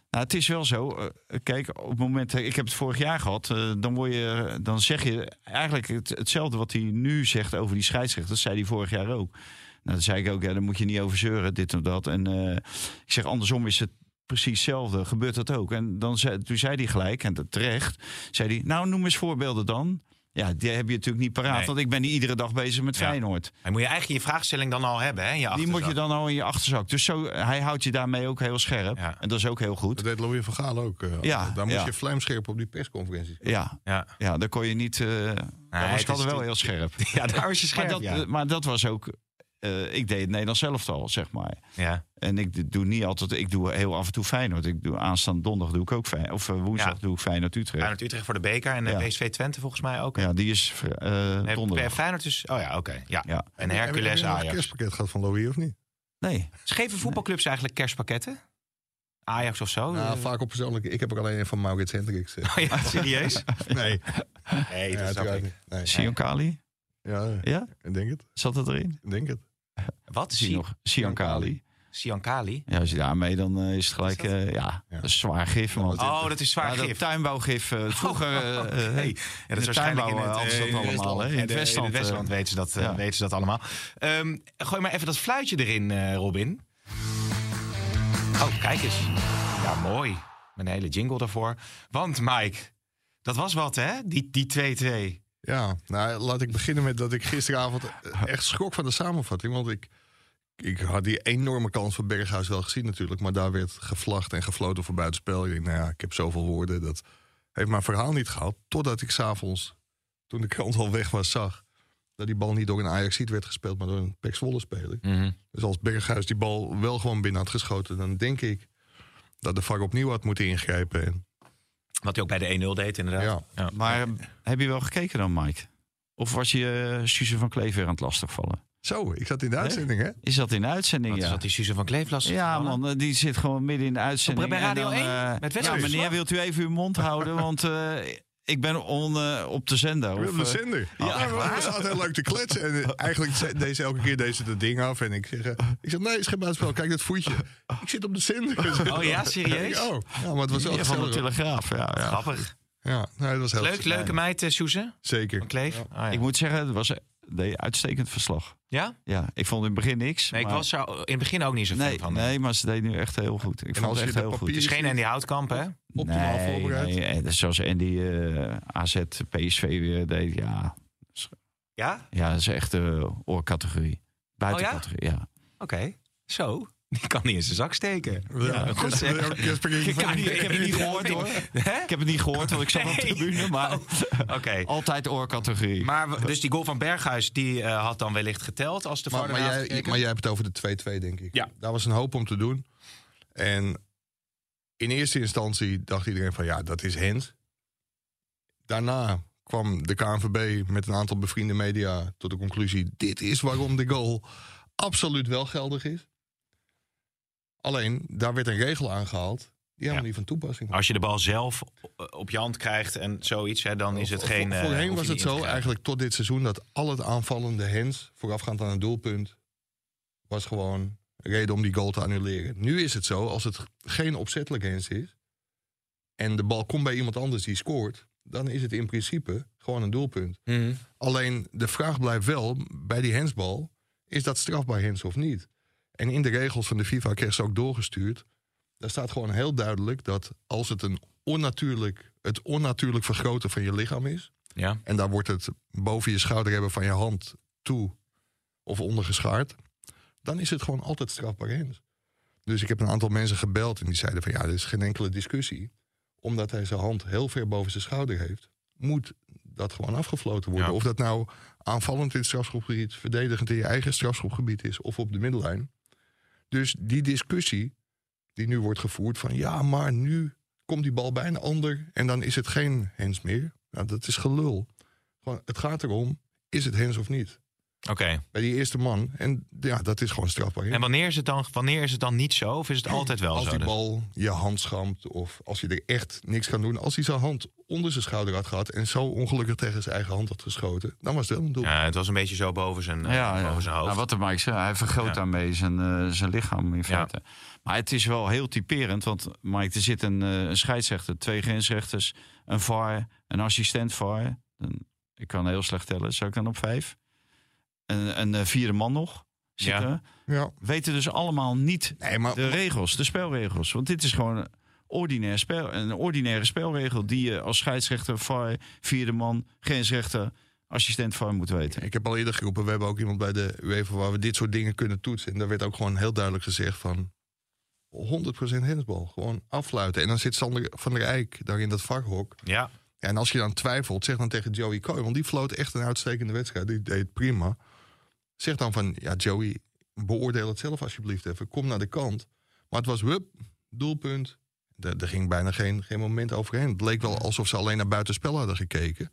Speaker 5: Nou, het is wel zo. eh, Kijk, op het moment, eh, ik heb het vorig jaar gehad, eh, dan, word je, dan zeg je eigenlijk het, hetzelfde wat hij nu zegt over die scheidsrechter. Dat zei hij vorig jaar ook. Nou, dan zei ik ook, ja, daar moet je niet over zeuren, dit of dat. En eh, ik zeg, andersom is het precies hetzelfde. Gebeurt dat ook? En dan zei, toen zei hij gelijk, en dat terecht, zei hij, nou noem eens voorbeelden dan. Ja, die heb je natuurlijk niet paraat,
Speaker 3: Nee.
Speaker 5: want ik ben niet iedere dag bezig met
Speaker 3: Ja.
Speaker 5: Feyenoord.
Speaker 3: Maar moet je eigenlijk je vraagstelling dan al hebben, hè? in je
Speaker 5: Die moet je
Speaker 3: achterzak.
Speaker 5: dan al in je achterzak. Dus zo, hij houdt je daarmee ook heel scherp.
Speaker 3: Ja.
Speaker 5: En dat is ook heel goed.
Speaker 4: Dat deed Louis van Gaal ook. eh,
Speaker 5: Ja,
Speaker 4: altijd. Daar moest
Speaker 5: ja.
Speaker 4: je vlijmscherp op die persconferenties.
Speaker 5: Ja,
Speaker 3: Ja.
Speaker 5: ja daar kon je niet... eh daar was
Speaker 3: het
Speaker 5: ik altijd
Speaker 3: is-
Speaker 5: wel heel scherp.
Speaker 3: Ja, daar was je scherp,
Speaker 5: maar, dat, eh,
Speaker 3: ja.
Speaker 5: maar dat was ook... eh, ik deed het Nederlands zelf al, zeg maar.
Speaker 3: Ja.
Speaker 5: En ik doe niet altijd, ik doe heel af en toe Feyenoord. Ik doe aanstaande donderdag doe ik ook Feyenoord. Of eh, woensdag
Speaker 3: Ja.
Speaker 5: doe ik Feyenoord Utrecht.
Speaker 3: Feyenoord Utrecht voor de beker en
Speaker 5: Ja.
Speaker 3: eh, PSV Twente volgens mij ook.
Speaker 5: Ja, die is vri- eh,
Speaker 3: Nee,
Speaker 5: donderdag.
Speaker 3: Feyenoord is... Oh ja, oké. Ja.
Speaker 5: Ja.
Speaker 3: En
Speaker 4: Heb
Speaker 3: Hercules
Speaker 4: je nog een
Speaker 3: Ajax.
Speaker 4: kerstpakket gehad van Louis of niet?
Speaker 5: Nee.
Speaker 3: Geven voetbalclubs eigenlijk kerstpakketten? Ajax of zo?
Speaker 4: Nou,
Speaker 3: Eh, Oh
Speaker 4: vaak op persoonlijke. Ik heb er alleen een van Maurits Hendricks. eh.
Speaker 3: ja, serieus?
Speaker 4: Nee,
Speaker 3: Nee,
Speaker 4: ja,
Speaker 3: dat snap
Speaker 4: uiteraard
Speaker 3: ik.
Speaker 4: niet. Nee.
Speaker 5: Sion Kali?
Speaker 4: Ja,
Speaker 5: Ja?
Speaker 4: ik denk het.
Speaker 5: Zat dat erin?
Speaker 4: ik Denk het.
Speaker 3: Wat?
Speaker 5: Zie je nog? Sion Kali.
Speaker 3: Sian Kali?
Speaker 5: Ja, als je daarmee dan eh, is het gelijk, eh, ja,
Speaker 4: Ja.
Speaker 5: dat is zwaar gif, man.
Speaker 3: Oh, dat is zwaar
Speaker 5: Ja, dat
Speaker 3: gif. Oh,
Speaker 5: tuinbouwgif. eh, vroeger, eh, eh,
Speaker 3: Hey, ja, dat is waarschijnlijk in
Speaker 5: tuinbouw, eh,
Speaker 3: het, eh,
Speaker 5: hadden ze dat allemaal, hè?
Speaker 3: in het Westland, in het Westland
Speaker 5: eh.
Speaker 3: weten, ze dat, eh,
Speaker 5: Ja.
Speaker 3: weten ze dat allemaal. Ehm, gooi maar even dat fluitje erin, eh, Robin. Oh, kijk eens. Ja, mooi. Met een hele jingle daarvoor. Want, Mike, dat was wat, hè? Die die 2-2.
Speaker 4: Ja, nou laat ik beginnen met dat ik gisteravond echt schrok van de samenvatting. Want ik, ik had die enorme kans van Berghuis wel gezien natuurlijk. Maar daar werd gevlacht en gefloten voor buitenspel. Ik denk, nou ja, ik heb zoveel woorden. Dat heeft mijn verhaal niet gehaald. Totdat ik s'avonds, toen de krant al weg was, zag... dat die bal niet door een ajax werd gespeeld, maar door een Pek Zwolle speler. Dus als Berghuis die bal wel gewoon binnen had geschoten... dan denk ik dat de VAR opnieuw had moeten ingrijpen. En,
Speaker 3: Wat hij ook bij de 1-0 deed, inderdaad.
Speaker 4: ja.
Speaker 5: Maar eh, heb je wel gekeken dan, Mike? Of was je eh, Suze van Kleef weer aan het lastigvallen?
Speaker 4: Zo, ik zat in de uitzending, hè?
Speaker 5: Is dat in de uitzending?
Speaker 3: Want
Speaker 5: ja.
Speaker 3: ja. zat die Suze van Kleef lastig te
Speaker 5: Ja,
Speaker 3: vallen.
Speaker 5: man, eh, die zit gewoon midden in de uitzending.
Speaker 3: Op- bij
Speaker 5: En
Speaker 3: Radio
Speaker 5: dan,
Speaker 3: 1?
Speaker 5: eh,
Speaker 3: Met
Speaker 5: Ja,
Speaker 3: wedstrijdverslag?
Speaker 5: meneer, wilt u even uw mond houden? Want eh, ik ben on, eh, op de zender.
Speaker 4: Willem de
Speaker 5: eh,
Speaker 4: Zender. Ja, maar we zaten heel leuk te kletsen. En eh, eigenlijk ze- deed ze elke keer deze dat ding af. En ik zeg, eh, ik zeg nee, het is geen buitenspel. Kijk dat voetje. Ik zit op de Zender.
Speaker 3: Oh ja, serieus?
Speaker 4: Ik, Oh, ja, maar het was wel
Speaker 5: meneer van de
Speaker 4: gezellig.
Speaker 5: Telegraaf. Ja, ja.
Speaker 3: Grappig.
Speaker 4: Ja, nee, het was heel
Speaker 3: Leuk,
Speaker 4: gezellig.
Speaker 3: leuke meid, eh, Suze
Speaker 4: Zeker.
Speaker 3: van Kleef. Ah, ja.
Speaker 5: Ik moet zeggen, het was een uitstekend verslag.
Speaker 3: Ja?
Speaker 5: Ja, ik vond in het begin niks.
Speaker 3: Nee, ik
Speaker 5: maar-
Speaker 3: was er in het begin ook niet zo fan
Speaker 5: Nee,
Speaker 3: van. eh,
Speaker 5: nee, maar ze deed nu echt heel goed. Ik
Speaker 4: En
Speaker 5: vond het
Speaker 4: als je
Speaker 5: echt
Speaker 4: de
Speaker 5: heel
Speaker 4: papier-
Speaker 5: goed.
Speaker 3: Het is geen Andy Houtkamp, hè?
Speaker 4: Optimaal
Speaker 5: nee,
Speaker 4: voorbereid.
Speaker 5: Nee, eh, dus zoals Andy eh, AZ, PSV weer deed. Ja,
Speaker 3: Ja?
Speaker 5: ja dat is echt eh oorcategorie. Buitencategorie,
Speaker 3: Oh
Speaker 5: ja?
Speaker 3: Oké. Zo. Die kan niet in zijn zak steken.
Speaker 4: Ja,
Speaker 3: goed zeg.
Speaker 4: elke keer spreek ik van-
Speaker 5: niet- ik heb het niet gehoord, hoor.
Speaker 3: Hè?
Speaker 5: Ik heb het niet gehoord, want ik zat op de
Speaker 3: Nee.
Speaker 5: tribune. Maar
Speaker 3: Oké.
Speaker 5: altijd oorcategorie.
Speaker 3: Maar w- dus die goal van Berghuis, die eh, had dan wellicht geteld als de
Speaker 4: Maar,
Speaker 3: VAR
Speaker 4: maar,
Speaker 3: ernaast
Speaker 4: jij,
Speaker 3: gekeken?
Speaker 4: maar jij hebt het over de 2-2, denk ik.
Speaker 3: Ja.
Speaker 4: Daar was een hoop om te doen. En in eerste instantie dacht iedereen van ja, dat is Hens. Daarna kwam de KNVB met een aantal bevriende media tot de conclusie... dit is waarom de goal absoluut wel geldig is. Alleen, daar werd een regel aangehaald die helemaal
Speaker 3: Ja.
Speaker 4: niet van toepassing was.
Speaker 3: Als je de bal zelf o- op je hand krijgt en zoiets, hè, dan is het
Speaker 4: Vo-
Speaker 3: geen...
Speaker 4: vo-
Speaker 3: eh, hoef
Speaker 4: Voorheen
Speaker 3: je
Speaker 4: was
Speaker 3: niet
Speaker 4: het
Speaker 3: in te
Speaker 4: zo,
Speaker 3: grijpen.
Speaker 4: eigenlijk tot dit seizoen, dat al het aanvallende hands voorafgaand aan een doelpunt was gewoon reden om die goal te annuleren. Nu is het zo, als het geen opzettelijk hands is en de bal komt bij iemand anders die scoort, dan is het in principe gewoon een doelpunt.
Speaker 3: Mhm.
Speaker 4: Alleen de vraag blijft wel bij die handsbal: is dat strafbaar hands of niet? En in de regels van de FIFA kreeg ze ook doorgestuurd. Daar staat gewoon heel duidelijk dat als het een onnatuurlijk, het onnatuurlijk vergroten van je lichaam is.
Speaker 3: Ja.
Speaker 4: En daar wordt het boven je schouder hebben van je hand toe of ondergeschaard. Dan is het gewoon altijd strafbaar hands. Dus ik heb een aantal mensen gebeld en die zeiden van ja, er is geen enkele discussie. Omdat hij zijn hand heel ver boven zijn schouder heeft, moet dat gewoon afgefloten worden.
Speaker 3: Ja.
Speaker 4: Of dat nou aanvallend in het strafschopgebied, verdedigend in je eigen strafschopgebied is of op de middellijn. Dus die discussie die nu wordt gevoerd van ja, maar nu komt die bal bij een ander en dan is het geen hens meer. Nou, dat is gelul. Gewoon, het gaat erom, is het hens of niet?
Speaker 3: Oké.
Speaker 4: Bij die eerste man. En ja, dat is gewoon strafbaar.
Speaker 3: En wanneer is, het dan, wanneer is het dan niet zo? Of is het altijd wel
Speaker 4: als
Speaker 3: zo?
Speaker 4: die
Speaker 3: Dus-
Speaker 4: bal je hand schampt of als je er echt niks kan doen. Als hij zijn hand onder zijn schouder had gehad en zo ongelukkig tegen zijn eigen hand had geschoten, dan was het wel een doel.
Speaker 3: Ja, het was een beetje zo boven zijn, eh,
Speaker 5: ja, ja.
Speaker 3: boven zijn hoofd.
Speaker 5: Nou, wat de Mike zei, hij vergroot
Speaker 3: Ja.
Speaker 5: daarmee zijn, eh, zijn lichaam in feite. Maar het is wel heel typerend, want Mike, er zit een, eh, een scheidsrechter, twee grensrechters, een VAR, een assistent VAR. Een- ik kan heel slecht tellen, zou ik dan op vijf? Een, een eh, vierde man nog. zitten,
Speaker 4: Ja.
Speaker 5: weten dus allemaal niet
Speaker 4: Nee, maar-
Speaker 5: de regels, de spelregels. Want dit is gewoon een ordinair spel, een ordinaire spelregel die je als scheidsrechter, VAR, vierde man, grensrechter, assistent VAR moet weten.
Speaker 4: Ik heb al eerder geroepen, we hebben ook iemand bij de UEFA waar we dit soort dingen kunnen toetsen. En daar werd ook gewoon heel duidelijk gezegd van 100% hensbal. Gewoon afluiten. En dan zit Sander van der Eijk daar in dat vakhok.
Speaker 3: Ja.
Speaker 4: Ja, en als je dan twijfelt, zeg dan tegen Joey Coy. Want die floot echt een uitstekende wedstrijd. Die deed het prima. Zeg dan van, ja Joey, beoordeel het zelf alsjeblieft even. Kom naar de kant. Maar het was, hup, doelpunt. Er er ging bijna geen, geen moment overheen. Het leek wel alsof ze alleen naar buitenspel hadden gekeken.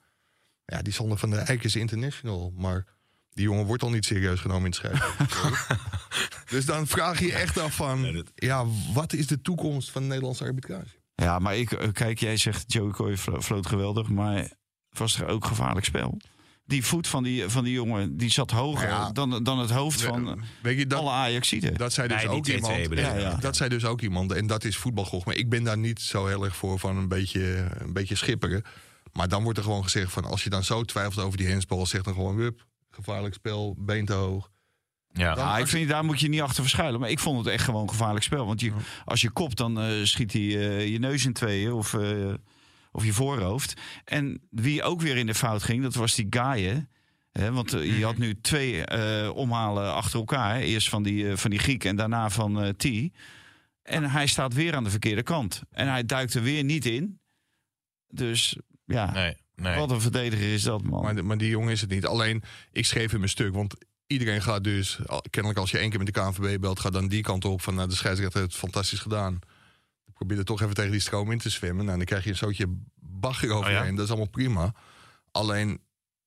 Speaker 4: Ja, die Sander van der Eyck is international. Maar die jongen wordt al niet serieus genomen in het schrijven. dus dan vraag je je echt af van... Ja, wat is de toekomst van de Nederlandse arbitrage?
Speaker 5: Ja, maar ik, eh, kijk, jij zegt Joey Coy vlo- floot geweldig, maar het was er ook gevaarlijk spel. Die voet van die, van die jongen, die zat hoger
Speaker 4: Ja.
Speaker 5: dan, dan het hoofd van
Speaker 4: Weet je, dat,
Speaker 5: alle Ajaxiden.
Speaker 4: Dat zei dus
Speaker 3: Nee,
Speaker 4: ook
Speaker 3: niet DT
Speaker 4: iemand.
Speaker 3: bedoel
Speaker 5: ik. Ja, ja.
Speaker 4: Dat zei dus ook iemand. En dat is voetbalgoch. Maar ik ben daar niet zo heel erg voor van een beetje, een beetje schipperen. Maar dan wordt er gewoon gezegd van als je dan zo twijfelt over die handsbal, zeg dan gewoon wup, gevaarlijk spel, been te hoog.
Speaker 3: Ja.
Speaker 4: Dan-
Speaker 5: Ja, Ah, ik vind, daar moet je niet achter verschuilen. Maar ik vond het echt gewoon een gevaarlijk spel. Want je, als je kopt, dan eh, schiet hij eh, je neus in tweeën of, eh, of je voorhoofd. En wie ook weer in de fout ging, dat was die Gaaien. Hè, want eh, je had nu twee eh, omhalen achter elkaar. Eerst van die, eh, van die Griek en daarna van eh T. En hij staat weer aan de verkeerde kant. En hij duikt er weer niet in. Dus ja,
Speaker 3: Nee, nee.
Speaker 5: wat een verdediger is dat, man.
Speaker 4: Maar, de- maar die jongen is het niet. Alleen, ik schreef in mijn stuk, want iedereen gaat dus... al- Kennelijk als je één keer met de KNVB belt, gaat dan die kant op van... nou, de scheidsrechter heeft het fantastisch gedaan. Probeer er toch even tegen die stroom in te zwemmen. Nou, dan krijg je een zootje bagger overheen. Dat is allemaal prima. Alleen,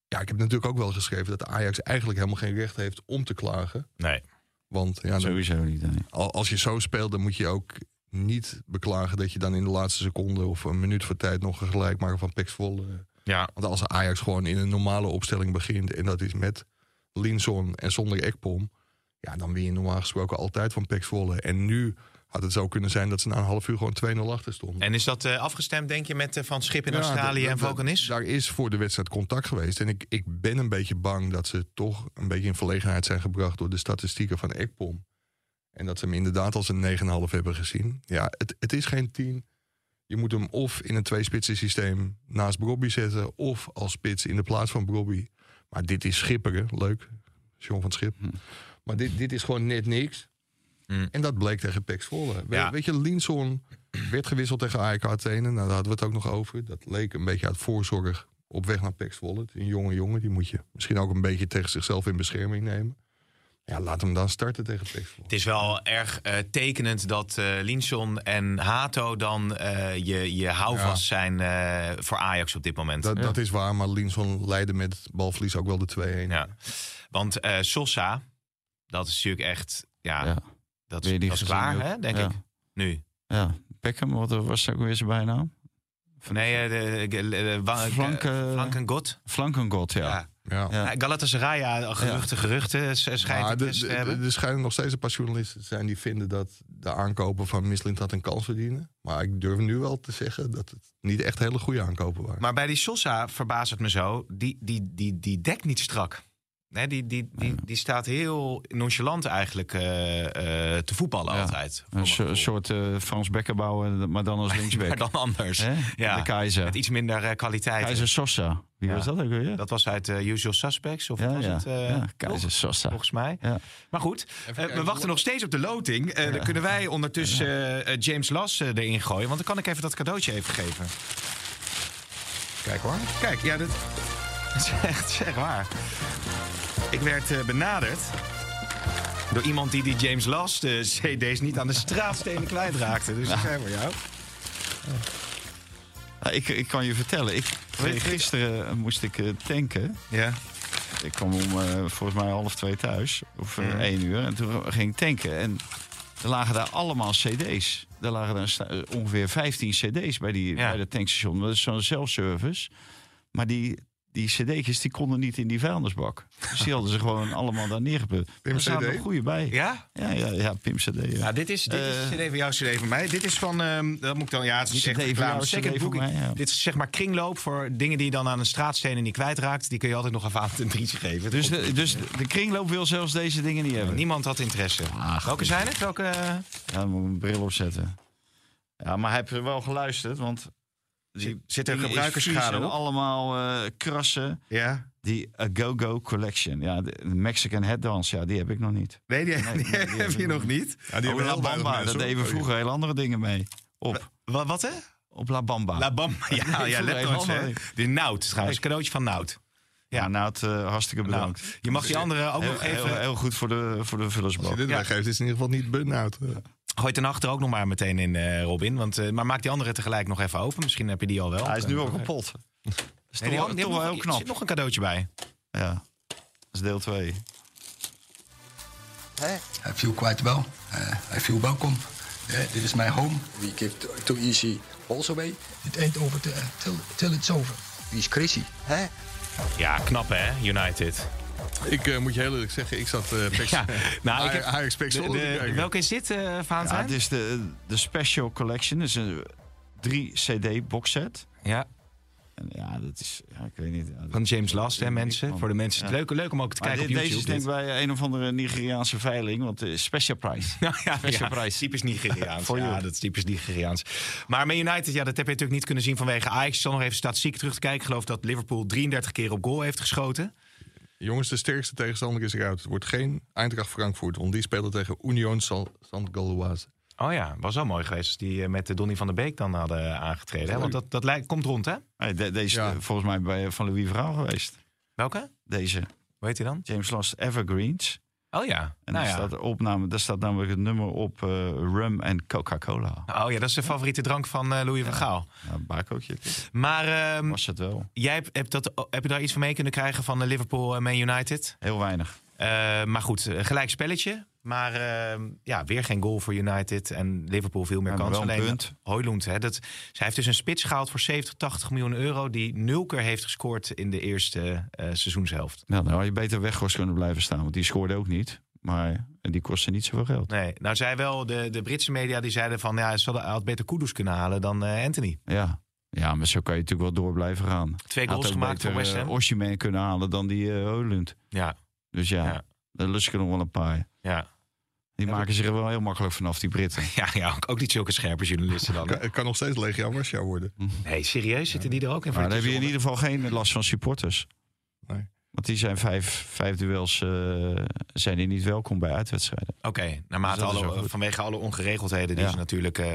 Speaker 4: ja, ik heb natuurlijk ook wel geschreven... dat Ajax eigenlijk helemaal geen recht heeft om te klagen.
Speaker 3: Nee.
Speaker 4: Want ja, dan-
Speaker 5: Sowieso niet. nee.
Speaker 4: al- als je zo speelt, dan moet je ook niet beklagen... dat je dan in de laatste seconde of een minuut voor tijd... nog een gelijkmaker van Pax Volle...
Speaker 3: Ja.
Speaker 4: Want als Ajax gewoon in een normale opstelling begint... en dat is met Linson en zonder Ekpom... ja, dan win je normaal gesproken altijd van Pek Zwolle. En nu had het zo kunnen zijn dat ze na een half uur gewoon 2-0 achter stonden.
Speaker 3: En is dat eh, afgestemd, denk je, met eh, Van Schip in
Speaker 4: Ja,
Speaker 3: Australië
Speaker 4: dat-
Speaker 3: en
Speaker 4: dat-
Speaker 3: Valkenis?
Speaker 4: Daar is voor de wedstrijd contact geweest. En ik, ik ben een beetje bang dat ze toch een beetje in verlegenheid zijn gebracht... door de statistieken van Ekpom. En dat ze hem inderdaad als een 9,5 hebben gezien. Ja, het, het is geen 10. Je moet hem of in een tweespitsen systeem naast Brobby zetten... of als spits in de plaats van Brobby. Maar dit is schipperen, leuk. John van Schip. Maar dit, dit is gewoon net niks.
Speaker 3: Hm.
Speaker 4: En dat bleek tegen Pex Volle. We-
Speaker 3: Ja.
Speaker 4: Weet je, Linson werd gewisseld tegen AEK Athene. Nou, daar hadden we het ook nog over. Dat leek een beetje uit voorzorg op weg naar Pex Volle. Het is Een jonge jongen, die moet je misschien ook een beetje tegen zichzelf in bescherming nemen. Ja, laat hem dan starten tegen Pex Volle.
Speaker 3: Het is wel erg eh, tekenend dat eh Linson en Hato dan eh, je, je houvast zijn eh, voor Ajax op dit moment.
Speaker 4: Dat, dat is waar, maar Linson leidde met balverlies ook wel de 2-1.
Speaker 3: Ja. Want eh Sosa, dat is natuurlijk echt... Ja,
Speaker 5: Ja.
Speaker 3: dat,
Speaker 5: Weer
Speaker 3: is-
Speaker 5: die
Speaker 3: dat is
Speaker 5: gezien
Speaker 3: klaar,
Speaker 5: ook.
Speaker 3: hè, denk
Speaker 5: Ja.
Speaker 3: ik. Nu.
Speaker 5: Ja, Beckham, wat was ook weer zijn bijnaam? Van
Speaker 3: Nee, eh, de, de, de, de-
Speaker 5: Flank, eh,
Speaker 3: Flank en God.
Speaker 5: Flankengot, ja.
Speaker 3: Ja.
Speaker 4: Ja.
Speaker 5: Ja.
Speaker 3: Nou, Galatasaray, ja, geruchten, geruchten, s- schijnt
Speaker 4: Maar
Speaker 3: het
Speaker 4: de-
Speaker 3: best
Speaker 4: de-
Speaker 3: te hebben.
Speaker 4: de- er schijnen nog steeds een paar journalisten te zijn die vinden dat de aankopen van Mislint had een kans verdienen. Maar ik durf nu wel te zeggen dat het niet echt hele goede aankopen waren.
Speaker 3: Maar bij die Sosa verbaast het me zo, die, die, die, die dekt niet strak. Nee, die, die, die, die staat heel nonchalant eigenlijk eh, eh, te voetballen
Speaker 5: Ja.
Speaker 3: altijd. voor
Speaker 5: Een
Speaker 3: mijn
Speaker 5: so-
Speaker 3: gevoel.
Speaker 5: soort eh, Frans Beckenbauer, maar dan als
Speaker 3: maar
Speaker 5: linksback.
Speaker 3: dan anders.
Speaker 5: Hè?
Speaker 3: Ja.
Speaker 5: De
Speaker 3: Met
Speaker 5: keizer.
Speaker 3: iets minder eh, kwaliteit.
Speaker 5: Keizer Sosa. Wie
Speaker 3: Ja.
Speaker 5: was dat ook weer?
Speaker 3: Dat was uit eh, Usual Suspects, of wat
Speaker 5: ja,
Speaker 3: was
Speaker 5: ja.
Speaker 3: het? eh,
Speaker 5: ja,
Speaker 3: toch?
Speaker 5: Keizer Sosa.
Speaker 3: Volgens mij.
Speaker 5: Ja.
Speaker 3: Maar goed, eh, we
Speaker 4: kijken.
Speaker 3: wachten nog steeds op de loting. Eh, Dan kunnen wij ondertussen eh, eh, James Las eh, erin gooien. Want dan kan ik even dat cadeautje even geven. Kijk hoor. Kijk, ja, dat, dat is echt zeg waar. Ik werd eh, benaderd door iemand die die James Las, de CD's, niet aan de straatstenen kwijtraakte. Dus dat zijn voor jou.
Speaker 5: Nou, ik, ik kan je vertellen, ik, gisteren eh, moest ik eh, tanken.
Speaker 3: Ja.
Speaker 5: Ik kwam om eh, volgens mij half twee thuis, of eh, één uur. En toen ging ik tanken. En er lagen daar allemaal cd's. Er lagen daar sta- eh, ongeveer 15 cd's bij, die,
Speaker 3: Ja.
Speaker 5: bij dat tankstation. Dat is zo'n zelfservice. Maar die die cd'tjes die konden niet in die vuilnisbak. Dus die hadden ze gewoon allemaal daar neergeput.
Speaker 4: Pim
Speaker 5: Er staan
Speaker 4: CD?
Speaker 5: er goede bij.
Speaker 3: Ja?
Speaker 5: Ja, ja, ja, Pim CD. Ja.
Speaker 3: Nou, dit is, dit is
Speaker 5: Eh.
Speaker 3: CD van jou, CD van mij. Dit is van, ehm, dat moet ik dan, ja, het is niet
Speaker 5: CD
Speaker 3: echt
Speaker 5: van
Speaker 3: reclame.
Speaker 5: jou,
Speaker 3: Second
Speaker 5: CD van
Speaker 3: Booking.
Speaker 5: mij, ja.
Speaker 3: Dit is zeg maar kringloop voor dingen die je dan aan een straatsteen en die kwijtraakt. Die kun je altijd nog even aan een drietje geven.
Speaker 5: Dus, de, dus de kringloop wil zelfs deze dingen niet hebben.
Speaker 3: Niemand had interesse.
Speaker 5: Ah,
Speaker 3: Welke
Speaker 5: goed.
Speaker 3: zijn het? Welke... eh?
Speaker 5: Ja, dan moet ik mijn bril opzetten. Ja, maar hij heeft er wel geluisterd, want...
Speaker 3: Zit- zit er
Speaker 5: dingen is
Speaker 3: gebruikersschade
Speaker 5: vies en
Speaker 3: op?
Speaker 5: allemaal eh, krassen.
Speaker 3: Ja.
Speaker 5: Die A Go Go Collection. Ja, de de Mexican Headdance, ja, die heb ik nog niet.
Speaker 3: Nee, die, die
Speaker 5: nee, die
Speaker 3: heb je
Speaker 5: hebben we
Speaker 3: nog niet.
Speaker 4: Ja, die
Speaker 5: Oh,
Speaker 4: hebben
Speaker 5: La
Speaker 4: heel weinig
Speaker 5: Bamba,
Speaker 4: mensen,
Speaker 5: dat
Speaker 4: hoor.
Speaker 5: deden we vroeger heel andere dingen mee. Op,
Speaker 3: Wat, wat hè?
Speaker 5: op La Bamba.
Speaker 3: La Bamba. Ja, ja
Speaker 5: vroeger helemaal
Speaker 3: Laptops, hè?
Speaker 5: niet.
Speaker 3: De Nout trouwens. Cadeautje van Nout.
Speaker 5: ja, nou, het, eh, hartstikke
Speaker 3: Nou,
Speaker 5: bedankt.
Speaker 3: je mag die andere ook
Speaker 5: heel,
Speaker 3: nog
Speaker 5: heel,
Speaker 3: even...
Speaker 5: heel goed voor de, voor de
Speaker 4: Als je
Speaker 5: vullersbak.
Speaker 4: dit
Speaker 3: Ja.
Speaker 4: weggeeft, is het in ieder geval niet benauwd.
Speaker 3: Gooi ten achter ook nog maar meteen in, eh, Robin. Want, eh, maar maak die andere tegelijk nog even open. Misschien heb je die al wel.
Speaker 5: Hij is nu al kapot. Is
Speaker 3: Nee, die
Speaker 5: toch,
Speaker 3: andere- die
Speaker 5: toch wel
Speaker 3: heeft
Speaker 5: heel
Speaker 3: nog-
Speaker 5: knap.
Speaker 3: Er zit nog een cadeautje bij.
Speaker 5: Ja, dat is deel 2.
Speaker 7: I feel quite well. Uh, I feel welcome. Uh, this is my home. We give too, too easy also away. It ain't over till, till, till it's over. He's crazy. Hè?
Speaker 3: Ja, knap hè, United.
Speaker 4: Ik eh, moet je heel eerlijk zeggen, ik zat eh Pex-
Speaker 3: Ja, nou, ik heb-
Speaker 4: Ajax Pex
Speaker 3: De,
Speaker 4: Zwolle te
Speaker 3: de-
Speaker 4: kijken.
Speaker 3: welke is dit, eh
Speaker 5: Ja,
Speaker 3: Valentijn?
Speaker 5: het is de, de Special Collection. Dat is een 3 CD box set.
Speaker 3: Ja,
Speaker 5: En ja, dat is, ja, ik weet niet. Ja, dat-
Speaker 3: van James Last, hè
Speaker 5: Ik-
Speaker 3: mensen.
Speaker 5: van-
Speaker 3: Voor de mensen.
Speaker 5: Ja.
Speaker 3: Leuk, leuk om ook te
Speaker 5: Maar
Speaker 3: kijken
Speaker 5: dit-
Speaker 3: op
Speaker 5: deze is
Speaker 3: YouTube.
Speaker 5: denk ik
Speaker 3: dit.
Speaker 5: bij een of andere Nigeriaanse veiling, want de special price.
Speaker 3: Nou ja,
Speaker 5: Special
Speaker 3: ja,
Speaker 5: price.
Speaker 3: Typisch Nigeriaans.
Speaker 5: For
Speaker 3: ja,
Speaker 5: you.
Speaker 3: dat is typisch Nigeriaans. Maar Man United, ja, dat heb je natuurlijk niet kunnen zien vanwege Ajax. Ik zal nog even statistiek terug te kijken. Ik geloof dat Liverpool 33 keer op goal heeft geschoten.
Speaker 4: Jongens, de sterkste tegenstander is eruit. Het wordt geen Eindracht Frankfurt, want die spelen tegen Union San San Galoise.
Speaker 3: Oh ja, was wel mooi geweest als die eh, met eh, Donny van der Beek dan hadden eh, aangetreden. Hè? Want dat, dat lijkt, komt rond, hè?
Speaker 5: Hey, de- deze
Speaker 4: Ja.
Speaker 5: is eh, volgens mij bij van Louis Verhaal geweest.
Speaker 3: Welke?
Speaker 5: Deze
Speaker 3: Hoe heet hij dan?
Speaker 5: James Last Evergreens.
Speaker 3: Oh ja.
Speaker 5: En daar,
Speaker 3: nou ja.
Speaker 5: staat de opname, daar staat namelijk het nummer op eh, rum en Coca-Cola.
Speaker 3: Oh ja, dat is de favoriete drank van eh, Louis van Gaal.
Speaker 5: Ja, een bakootje
Speaker 3: Maar ehm,
Speaker 5: was het wel.
Speaker 3: jij hebt, hebt dat, heb je daar iets van mee kunnen krijgen van eh, Liverpool en Man United?
Speaker 5: Heel weinig.
Speaker 3: Eh, maar goed, eh, gelijk spelletje. Maar ehm, ja, weer geen goal voor United. En Liverpool veel meer
Speaker 5: Ja, maar
Speaker 3: kansen.
Speaker 5: wel een
Speaker 3: Alleen
Speaker 5: punt.
Speaker 3: Højlund, hè, dat, zij heeft dus een spits gehaald voor 70, 80 miljoen euro. Die nul keer heeft gescoord in de eerste eh, seizoenshelft.
Speaker 5: Nou, dan had je beter weggors kunnen blijven staan, want die scoorde ook niet. Maar eh, die kostte niet zoveel geld.
Speaker 3: Nee, nou zij wel, de, de Britse media die zeiden van... ja, ze hadden- had beter Kudus kunnen halen dan eh, Anthony.
Speaker 5: Ja. ja, maar zo kan je natuurlijk wel door blijven gaan.
Speaker 3: Twee goals
Speaker 5: Had ook
Speaker 3: gemaakt
Speaker 5: beter,
Speaker 3: voor West Ham.
Speaker 5: eh, Osimhen kunnen halen dan die eh Holland.
Speaker 3: Ja,
Speaker 5: Dus ja,
Speaker 3: Ja.
Speaker 5: daar lust ik er nog wel een paar.
Speaker 3: ja.
Speaker 5: Die maken zich er wel heel makkelijk vanaf, die Britten.
Speaker 3: Ja, ja ook, ook niet zulke scherpe journalisten dan. hè?
Speaker 4: Kan- Het kan nog steeds Legia Warschau worden.
Speaker 3: Nee, serieus zitten die er ook in?
Speaker 5: Maar dan heb je in ieder geval geen last van supporters.
Speaker 4: Nee.
Speaker 5: Want die zijn vijf, vijf duels eh, zijn die niet welkom bij uitwedstrijden.
Speaker 3: Oké, naarmate
Speaker 5: Dus dat is
Speaker 3: alle-
Speaker 5: ook goed.
Speaker 3: vanwege alle ongeregeldheden die
Speaker 5: Ja.
Speaker 3: ze natuurlijk eh,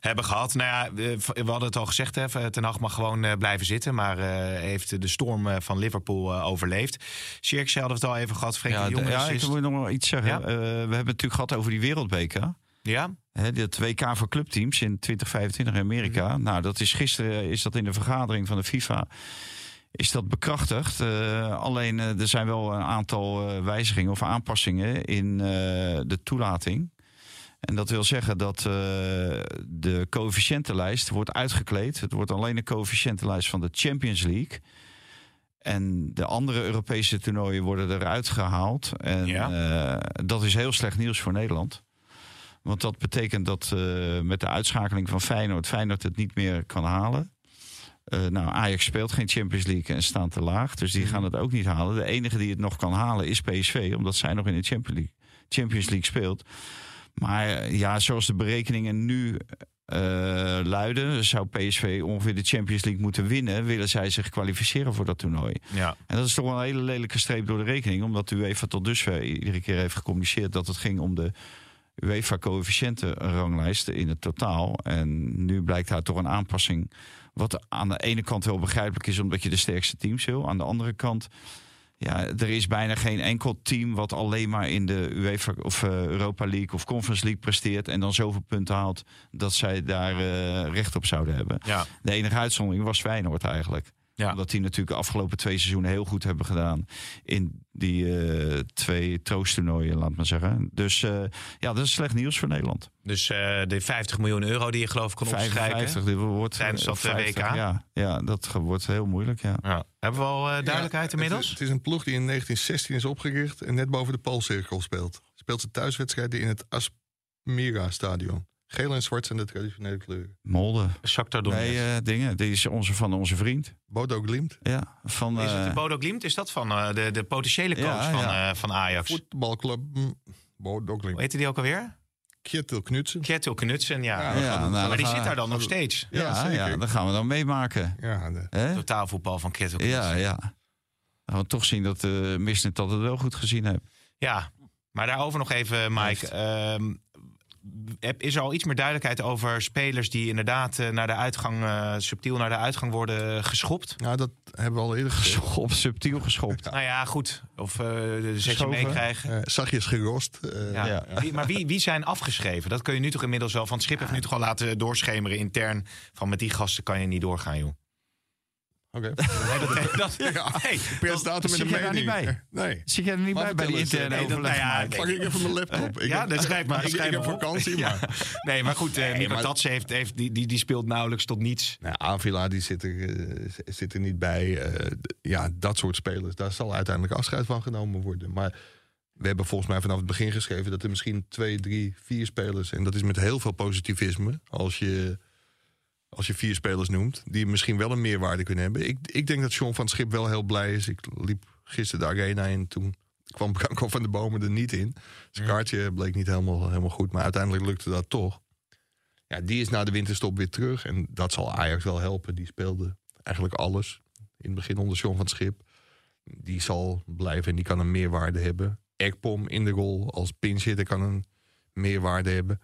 Speaker 3: hebben gehad. Nou ja, we, we hadden het al gezegd, hè, Ten Hag mag gewoon eh, blijven zitten. Maar eh, heeft de storm eh, van Liverpool eh, overleefd. Sjerksel hadden we het al even gehad. Frenkie de
Speaker 5: d-
Speaker 3: Jong
Speaker 5: ja ik
Speaker 3: assist.
Speaker 5: wil nog wel iets zeggen.
Speaker 3: Ja?
Speaker 5: Eh, we hebben het natuurlijk gehad over die wereldbeker.
Speaker 3: Ja?
Speaker 5: Hè, dat WK voor clubteams in 2025 in Amerika.
Speaker 3: Mhm.
Speaker 5: Nou, dat is gisteren is dat in de vergadering van de FIFA is dat bekrachtigd. Eh, alleen eh, er zijn wel een aantal eh, wijzigingen of aanpassingen in eh, de toelating. En dat wil zeggen dat eh, de coëfficiëntenlijst wordt uitgekleed. Het wordt alleen de coëfficiëntenlijst van de Champions League. En de andere Europese toernooien worden eruit gehaald. En
Speaker 3: Ja.
Speaker 5: eh, dat is heel slecht nieuws voor Nederland. Want dat betekent dat eh, met de uitschakeling van Feyenoord... Feyenoord het niet meer kan halen. Eh, nou, Ajax speelt geen Champions League en staan te laag. Dus die gaan het ook niet halen. De enige die het nog kan halen is PSV. Omdat zij nog in de Champions League, Champions League speelt. Maar eh, ja, zoals de berekeningen nu eh, luiden... zou PSV ongeveer de Champions League moeten winnen... willen zij zich kwalificeren voor dat toernooi.
Speaker 3: Ja.
Speaker 5: En dat is toch wel een hele lelijke streep door de rekening. Omdat de UEFA tot dusver iedere keer heeft gecommuniceerd dat het ging om de UEFA-coëfficiëntenranglijsten in het totaal. En nu blijkt daar toch een aanpassing. Wat aan de ene kant wel begrijpelijk is, omdat je de sterkste teams wil. Aan de andere kant, ja, er is bijna geen enkel team wat alleen maar in de UEFA of eh, Europa League of Conference League presteert. En dan zoveel punten haalt dat zij daar eh, recht op zouden hebben.
Speaker 3: Ja.
Speaker 5: De enige uitzondering was Feyenoord eigenlijk.
Speaker 3: Ja.
Speaker 5: Omdat die natuurlijk de afgelopen twee seizoenen heel goed hebben gedaan. In die eh, twee troosttoernooien, laat maar zeggen. Dus eh, ja, dat is slecht nieuws voor Nederland.
Speaker 3: Dus eh, de 50 miljoen euro die je geloof ik kon opstrijken.
Speaker 5: 55, dit wordt
Speaker 3: Tijdens dat, eh,
Speaker 5: 50,
Speaker 3: WK.
Speaker 5: Ja, ja, dat ge- wordt heel moeilijk, ja.
Speaker 3: Ja. Hebben we al eh, duidelijkheid
Speaker 4: Ja,
Speaker 3: inmiddels?
Speaker 4: Het is, het is een ploeg die in 1916 is opgericht en net boven de Poolcirkel speelt. Speelt ze thuiswedstrijden in het Asmira-stadion. Geel en zwart zijn de traditionele kleuren.
Speaker 5: Molde.
Speaker 3: Shakhtar Donetsk.
Speaker 5: Nee, eh, dingen. Die is onze, van onze vriend.
Speaker 4: Bodo Glimt,
Speaker 5: Ja, van...
Speaker 3: Is het de
Speaker 5: eh,
Speaker 3: Bodo Glimt? Is dat van eh, de, de potentiële coach
Speaker 5: Ja,
Speaker 3: van,
Speaker 5: ja.
Speaker 3: eh, van Ajax?
Speaker 4: voetbalclub mm, Bodo
Speaker 3: Hoe
Speaker 4: Glimt.
Speaker 3: heette die ook alweer?
Speaker 4: Kjetil Knutsen.
Speaker 3: Kjetil Knutsen, ja.
Speaker 5: Ja, nou, dan
Speaker 3: maar die
Speaker 5: gaan
Speaker 3: zit
Speaker 5: we-
Speaker 3: daar dan nog steeds.
Speaker 5: Ja, ja,
Speaker 4: zeker.
Speaker 5: dat gaan we dan meemaken.
Speaker 4: Ja, de-
Speaker 5: Hè?
Speaker 3: Totaalvoetbal van Kjetil Knutsen.
Speaker 5: Ja, ja. Dan gaan we toch zien dat eh Misnet dat het wel goed gezien heeft.
Speaker 3: Ja, maar daarover nog even, Mike.
Speaker 5: Juist.
Speaker 3: Ehm, heb- is er al iets meer duidelijkheid over spelers die inderdaad eh, naar de uitgang, eh, subtiel naar de uitgang worden geschopt?
Speaker 4: nou, dat hebben we al eerder gezien.
Speaker 5: Geschopt, subtiel geschopt.
Speaker 3: Nou ja, goed. Of eh de zetje
Speaker 5: Geschoven.
Speaker 3: meekrijgen.
Speaker 4: Eh zachtjes gerost. eh,
Speaker 3: Ja.
Speaker 5: Ja.
Speaker 3: Wie- maar wie, wie zijn afgeschreven? Dat kun je nu toch inmiddels wel van het schip heeft nu toch al laten doorschemeren intern. Van met die gasten kan je niet doorgaan, joh.
Speaker 4: Oké.
Speaker 3: Nee, dat, nee, dat,
Speaker 4: Ja,
Speaker 3: nee,
Speaker 4: Presentator met
Speaker 5: zit
Speaker 4: een
Speaker 5: jij daar
Speaker 4: mening.
Speaker 5: niet
Speaker 4: Nee.
Speaker 5: Zit jij er niet
Speaker 4: Maar
Speaker 5: bij bij die
Speaker 4: vertel
Speaker 5: interne
Speaker 3: nee,
Speaker 4: eens,
Speaker 3: dat-
Speaker 5: overleg?
Speaker 3: nou ja,
Speaker 5: Mike?
Speaker 3: nee.
Speaker 4: Pak ik even mijn laptop. Ik
Speaker 3: Ja,
Speaker 4: heb-
Speaker 3: dat schrijf maar.
Speaker 4: Ik, ik
Speaker 3: schrijf
Speaker 4: heb
Speaker 3: maar op.
Speaker 4: vakantie,
Speaker 3: Ja.
Speaker 4: maar...
Speaker 3: Nee, maar goed, eh Nico
Speaker 4: maar-
Speaker 3: Tatsen heeft, heeft, die, die, die speelt nauwelijks tot niets.
Speaker 4: Nou, Avila die zit, er, eh, z- zit er niet bij. Eh, d- ja, dat soort spelers. Daar zal uiteindelijk afscheid van genomen worden. Maar we hebben volgens mij vanaf het begin geschreven... dat er misschien twee, drie, vier spelers... en dat is met heel veel positivisme... als je, als je vier spelers noemt... die misschien wel een meerwaarde kunnen hebben. Ik, ik denk dat Sean van het Schip wel heel blij is. Ik liep gisteren de arena in toen... kwam Branko van de Bomen er niet in. Zijn kaartje bleek niet helemaal, helemaal goed... maar uiteindelijk lukte dat toch. Ja, die is na de winterstop weer terug. En dat zal Ajax wel helpen. Die speelde eigenlijk alles. In het begin onder John van het Schip. Die zal blijven en die kan een meerwaarde hebben. Ekpom in de rol als pinchhitter kan een meerwaarde hebben.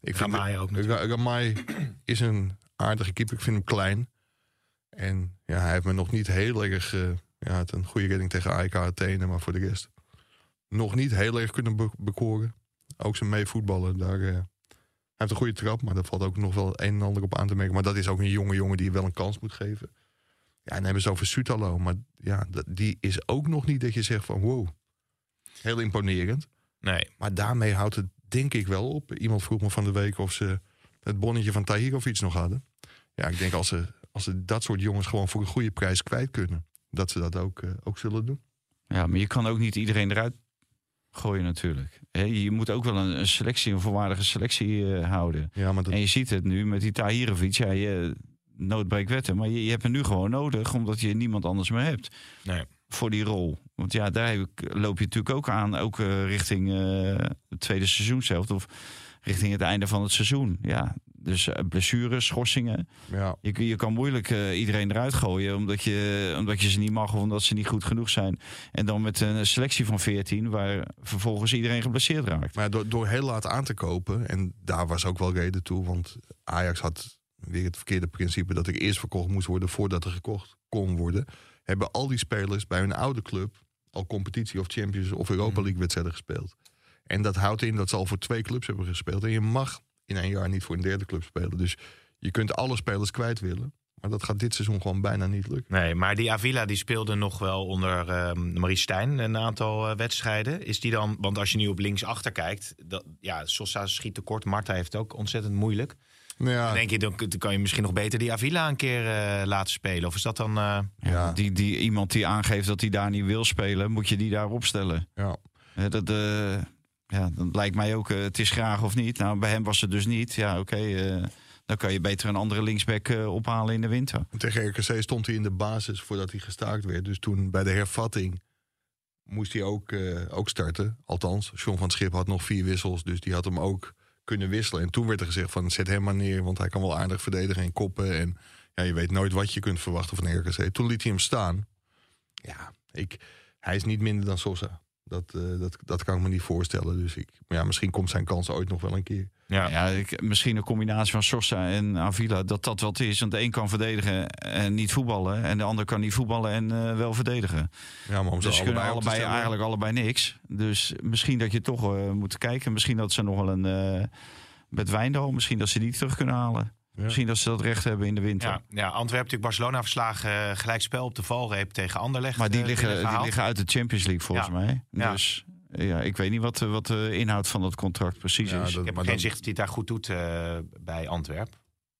Speaker 4: Ik vind
Speaker 3: Ramai ook natuurlijk.
Speaker 4: Ra- Ramai is een aardige keeper. Ik vind hem klein. En ja, hij heeft me nog niet heel erg... eh, ja, hij had een goede redding tegen AEK Athene, maar voor de rest... nog niet heel erg kunnen be- bekoren. Ook zijn meevoetballen, daar... eh, hij heeft een goede trap, maar daar valt ook nog wel een en ander op aan te merken. Maar dat is ook een jonge jongen die je wel een kans moet geven. Ja, en dan hebben ze over Sutalo. Maar ja, dat- die is ook nog niet dat je zegt van wow. Heel imponerend.
Speaker 3: Nee.
Speaker 4: Maar daarmee houdt het denk ik wel op. Iemand vroeg me van de week of ze het bonnetje van Tahir of iets nog hadden. Ja, ik denk als ze, als ze dat soort jongens gewoon voor een goede prijs kwijt kunnen. Dat ze dat ook, eh, ook zullen doen.
Speaker 5: Ja, maar je kan ook niet iedereen eruit gooien natuurlijk. Hè, je moet ook wel een, een selectie, een voorwaardige selectie eh, houden.
Speaker 4: Ja, maar dat,
Speaker 5: En je ziet het nu met die Tahirovic. Ja, je noodbreekt wetten, maar je, je hebt hem nu gewoon nodig... omdat je niemand anders meer hebt
Speaker 3: Nee.
Speaker 5: voor die rol. Want ja, daar heb ik- loop je natuurlijk ook aan, ook eh, richting eh, het tweede seizoen zelf... of richting het einde van het seizoen. Ja, dus eh, blessures, schorsingen...
Speaker 4: ja.
Speaker 5: Je, kun- je kan moeilijk eh, iedereen eruit gooien omdat je, omdat je ze niet mag of omdat ze niet goed genoeg zijn. En dan met een selectie van 14 waar vervolgens iedereen geblesseerd raakt.
Speaker 4: Maar door, door heel laat aan te kopen, en daar was ook wel reden toe, want Ajax had weer het verkeerde principe dat er eerst verkocht moest worden voordat er gekocht kon worden. Hebben al die spelers bij hun oude club al competitie of Champions of Europa League wedstrijden gespeeld. En dat houdt in dat ze al voor twee clubs hebben gespeeld. En je mag in een jaar niet voor een derde club spelen. Dus je kunt alle spelers kwijt willen. Maar dat gaat dit seizoen gewoon bijna niet lukken.
Speaker 3: nee, maar die Avila die speelde nog wel onder ehm Marie Stijn een aantal eh, wedstrijden. Is die dan, want als je nu op linksachter kijkt, dat, ja, Sosa schiet tekort. Marta heeft het ook ontzettend
Speaker 5: Ah.
Speaker 3: moeilijk.
Speaker 4: Nou
Speaker 3: Dan
Speaker 4: ja,
Speaker 3: denk je, dan, dan kan je misschien nog beter die Avila een keer eh, laten spelen. Of is dat dan... eh,
Speaker 4: Ja.
Speaker 5: Die, die, iemand die aangeeft dat hij daar niet wil spelen, moet je die daar opstellen.
Speaker 4: ja.
Speaker 5: Hè, dat, eh, ja, dat lijkt mij ook, eh, het is graag of niet. Nou, bij hem was het dus niet. Ja, oké, eh, dan kan je beter een andere linksback eh, ophalen in de winter.
Speaker 4: Tegen RKC stond hij in de basis voordat hij gestaakt werd. Dus toen bij de hervatting moest hij ook, eh, ook starten. Althans, John van Schip had nog vier wissels. Dus die had hem ook kunnen wisselen. En toen werd er gezegd van zet hem maar neer. Want hij kan wel aardig verdedigen en koppen. En ja, je weet nooit wat je kunt verwachten van RKC. Toen liet hij hem staan. Ja, ik, hij is niet minder dan Sosa. Dat, eh, dat, dat kan ik me niet voorstellen. Dus ik, maar ja, misschien komt zijn kans ooit nog wel een keer.
Speaker 3: ja.
Speaker 5: Ja, ik, misschien een combinatie van Sosa en Avila, dat dat wat is. Want de een kan verdedigen en niet voetballen. En de ander kan niet voetballen en eh, wel verdedigen.
Speaker 4: Ja, maar om ze
Speaker 5: dus ze kunnen
Speaker 4: allebei, op te
Speaker 5: allebei
Speaker 4: stellen-
Speaker 5: eigenlijk allebei niks. Dus misschien dat je toch eh, moet kijken. Misschien dat ze nog wel een... eh, met Wijndal, misschien dat ze die terug kunnen halen. Misschien dat ze dat recht hebben in de winter.
Speaker 3: Ja, ja, Antwerpen natuurlijk Barcelona verslagen. eh, gelijkspel op de valreep tegen Anderlecht.
Speaker 5: Maar die
Speaker 3: eh,
Speaker 5: liggen, die
Speaker 3: binnengehaald.
Speaker 5: liggen uit de Champions League volgens
Speaker 3: Ja.
Speaker 5: mij.
Speaker 3: Ja.
Speaker 5: Dus eh, ja, ik weet niet wat, eh, wat de inhoud van dat contract precies
Speaker 4: Ja,
Speaker 5: is.
Speaker 4: dat-
Speaker 3: Ik heb
Speaker 4: maar
Speaker 3: geen
Speaker 4: dan-
Speaker 3: zicht of hij het daar goed doet eh, bij Antwerpen.